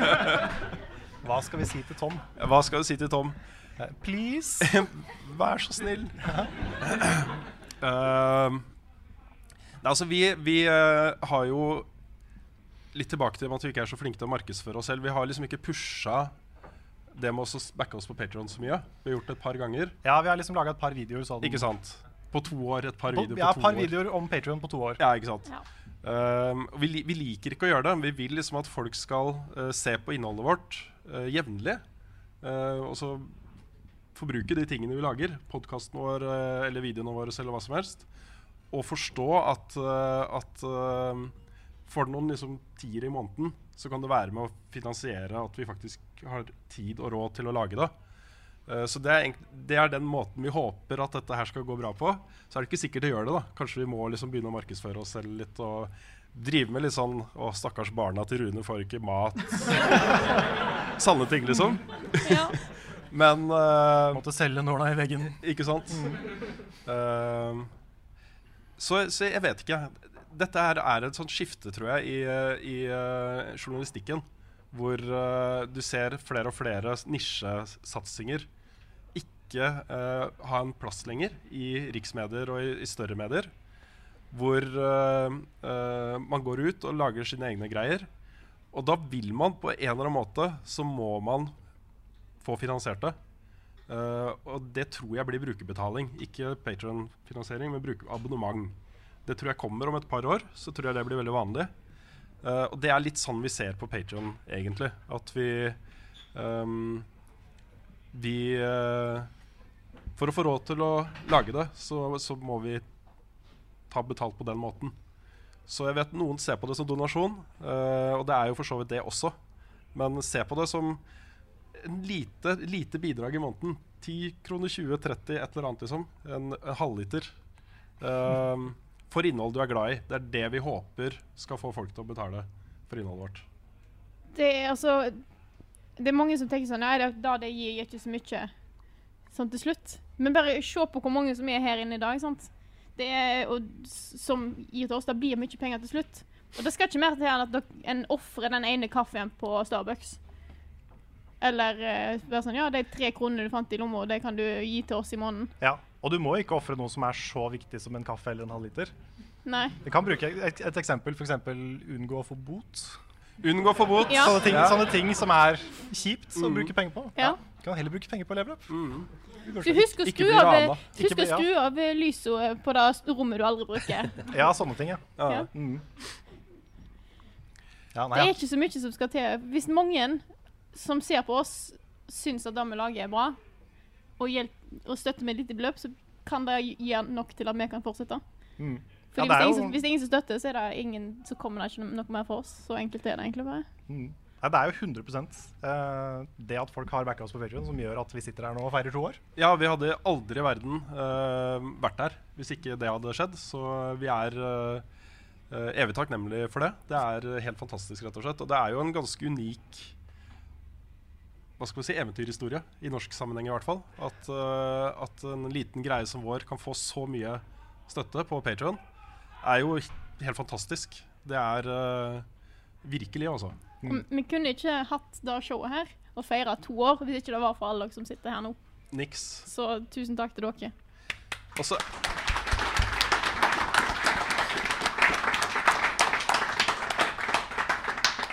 Hva skal vi si til Tom? Eh,
Hva skal du si til Tom?
Please.
Vær så snill. Ehm, nei, altså, vi, vi eh, har jo Litt tilbake til at vi ikke er så flinke til å markedsføre oss selv. Vi har liksom ikke pusha det med å så s- backe oss på Patreon så mye. Vi har gjort det et par ganger.
Ja, vi har liksom laga et par videoer sånn.
Ikke sant? På to år. Et par
På-
videoer på
ja,
to
par
år.
videoer om Patreon på to år.
Ja, ikke sant? Ehm, og vi, li- vi liker ikke å gjøre det. men Vi vil liksom at folk skal eh, se på innholdet vårt eh, jevnlig. eh, og så forbruke de tingene vi lager, podkasten vår eh, eller videoene våre eller hva som helst. Og forstå at, eh, at eh, for noen liksom, tiere i måneden så kan det være med å finansiere at vi faktisk har tid og råd til å lage det. Eh, Så det er, egentlig- det er den måten vi håper at dette her skal gå bra på. Så er det ikke sikkert det gjør det. da. Kanskje vi må liksom begynne å markedsføre oss selv litt og drive med litt sånn Å, stakkars barna til Rune får ikke mat. Sanne ting, liksom. Men Måtte
selge nåla i veggen. Mm.
Ikke sant? Eh, så, så jeg vet ikke. Dette her er et sånt skifte, tror jeg, i, eh, i eh, journalistikken. Hvor eh, du ser flere og flere s- nisjesatsinger ikke eh, ha en plass lenger i riksmedier og i, i større medier. Hvor eh, eh, man går ut og lager sine egne greier. Og da vil man på en eller annen måte, så må man få finansiert det. Eh, og det tror jeg blir brukerbetaling. Ikke Patron-finansiering, men bruker abonnement. Det tror jeg kommer om et par år. Så tror jeg det blir veldig vanlig. Eh, og det er litt sånn vi ser på Patron, egentlig. At vi ehm, Vi eh, For å få råd til å lage det, så, så må vi ta betalt på den måten. Så jeg vet noen ser på det som donasjon, eh, og det er jo for så vidt det også. Men se på det som en lite, lite bidrag i måneden. 10 kroner, 20, 30, et eller annet liksom. En, en halvliter. Ehm, for innhold du er glad i. Det er det vi håper skal få folk til å betale for innholdet vårt.
Det er altså Det er mange som tenker sånn Nei, det er da det gir ikke så mye sånn til slutt. Men bare se på hvor mange som er her inne i dag, sant. Det er, og, s- som gir til oss. Det blir mye penger til slutt. Og det skal ikke mer til enn at dere- en ofrer den ene kaffen på Starbucks. Eller eh, være sånn Ja, de tre kronene du fant i lomma, det kan du gi til oss i måneden.
Ja, Og du må ikke ofre noe som er så viktig som en kaffe eller en halvliter.
Nei.
Vi kan bruke et, et eksempel, f.eks. unngå å få bot.
Unngå å få bot.
Ja.
Sånne, ting,
Ja.
sånne ting som er kjipt å
Mm.
bruke penger på.
Ja.
Du kan heller bruke penger på å leve opp.
Så husk å skru av, eh, husk å skru av eh, lyset på det rommet du aldri bruker.
Ja, sånne ting, ja.
Ja.
Mm. ja
Det
nei,
er
ja.
ikke så mye som skal til. Hvis mange som ser på oss, syns at det vi lager er bra, og, hjelp, og støtter med et lite beløp, så kan det gi nok til at vi kan fortsette.
Mm.
Fordi
Ja, det
hvis, det
er
er ingen,
jo
som- hvis det er ingen som støtter, så, er det ingen, så kommer det ikke noe mer fra oss. Så enkelt er det egentlig bare.
Mm. Nei, det er jo 100 eh, det at folk har backa oss på Patreon som gjør at vi sitter her nå og feirer to år.
Ja, vi hadde aldri i verden eh, vært der hvis ikke det hadde skjedd. Så vi er eh, eh, evig takknemlige for det. Det er helt fantastisk, rett og slett. Og det er jo en ganske unik hva skal vi si, eventyrhistorie, i norsk sammenheng i hvert fall. At, eh, at en liten greie som vår kan få så mye støtte på Patreon er jo helt fantastisk. Det er eh, virkelig, altså.
Mm.
Om- Vi kunne ikke hatt det showet her og feira to år hvis ikke det var for alle dere som sitter her nå.
Niks.
Så tusen takk til dere.
Og så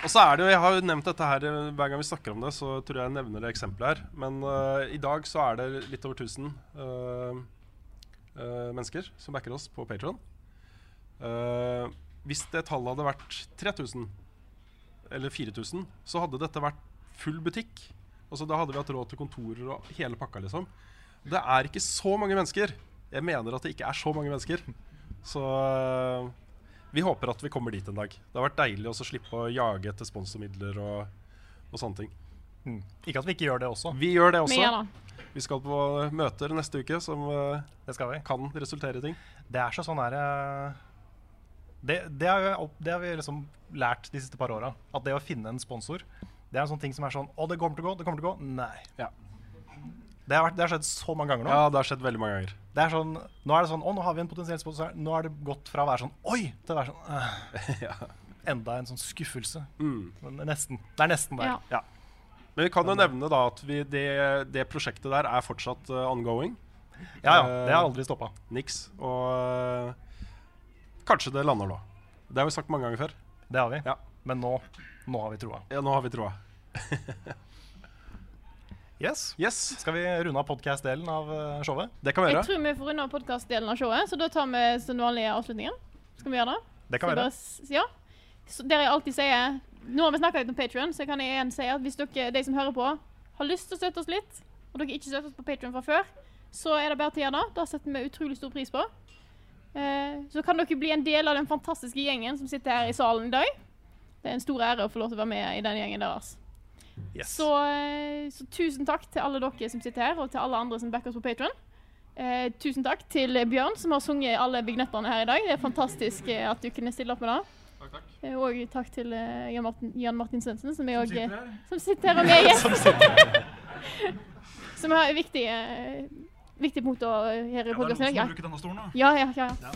Og så er det jo, Jeg har jo nevnt dette her eh, hver gang vi snakker om det, så tror jeg jeg nevner det eksempelet her. Men eh, i dag så er det litt over 1000 eh, eh, mennesker som backer oss på Patron. hvis det tallet hadde vært 3000 eller 4000, så hadde dette vært full butikk. Altså, da hadde vi hatt råd til kontorer og hele pakka, liksom. Det er ikke så mange mennesker. Jeg mener at det ikke er så mange mennesker. Så eh, vi håper at vi kommer dit en dag. Det har vært deilig også å slippe å jage etter sponsormidler og, og sånne ting.
Ikke at vi ikke gjør det også.
Vi gjør det
Vi
også.
gjør
Vi skal på møter neste uke som eh, kan resultere i ting.
Det er så sånn her eh, det, det, har jo opp, det har vi liksom lært de siste par åra. At det å finne en sponsor Det er en sånn ting som er sånn Å, det kommer til å gå, det kommer til å gå. Nei. Det, har vært, det har skjedd så mange ganger nå.
Ja, det har skjedd veldig mange ganger.
Det er sånn, nå er det sånn Å, nå har vi en potensiell sponsor. her». Nå er det gått fra å være sånn Oi! til å være sånn «Åh». Enda en sånn skuffelse.
Mm.
Men nesten. Det er nesten der.
Ja. Men vi kan jo nevne da at vi, det, det prosjektet der er fortsatt eh, ongoing.
Ja,
Eh.
ja, det har aldri
stoppa. Niks. Og eh, kanskje det lander nå. Det har vi sagt mange ganger før.
Det har vi.
Ja.
Men nå, nå har vi troa.
Ja, nå har vi troa.
Yes. Skal vi runde av podcast-delen av eh, showet?
Det
Jeg tror vi får runde av podkast-delen av showet, så da tar vi den vanlige avslutningen. Skal vi gjøre det?
Det kan
Skal vi
være.
bare s- Ja. Så der jeg alltid sier Nå har vi snakka litt om Patreon, så jeg kan jeg igjen si at hvis dere, de som hører på, har lyst til å støtte oss litt, og dere ikke støtter oss på Patreon fra før, så er det bare til å gjøre det. Det setter vi utrolig stor pris på. Eh, Så kan dere bli en del av den fantastiske gjengen som sitter her i salen i dag. Det er en stor ære å få lov til å være med i den gjengen deres. Så, eh, så tusen takk til alle dere som sitter her, og til alle andre som backer oss på Patron. Eh, tusen takk til Bjørn, som har sunget alle vignettene her i dag. Det er fantastisk eh, at du kunne stille opp med det.
Takk, takk.
Eh, Og takk til eh, Jan Martin, Jan Martin Svendsen, som, er også,
Som sitter
eh,
her.
som sitter her og med
Som
gjest. som er viktig, eh, viktig punkt å eh, her i
det er noen som
podkasten.
bruker denne stolen, da.
Ja, ja, ja. ja.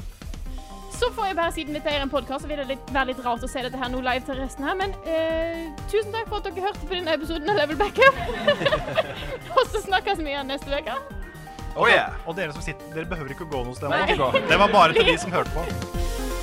Så får jeg bare, siden dette er en podkast, så vil det litt, være litt rart å se dette her nå live til resten her, men eh, tusen takk for at dere hørte på denne episoden av Level Backup. og så snakkes vi igjen neste uke.
Og, og dere som sitter, dere behøver ikke å gå noe sted.
Nei.
Det var bare til de som hørte på.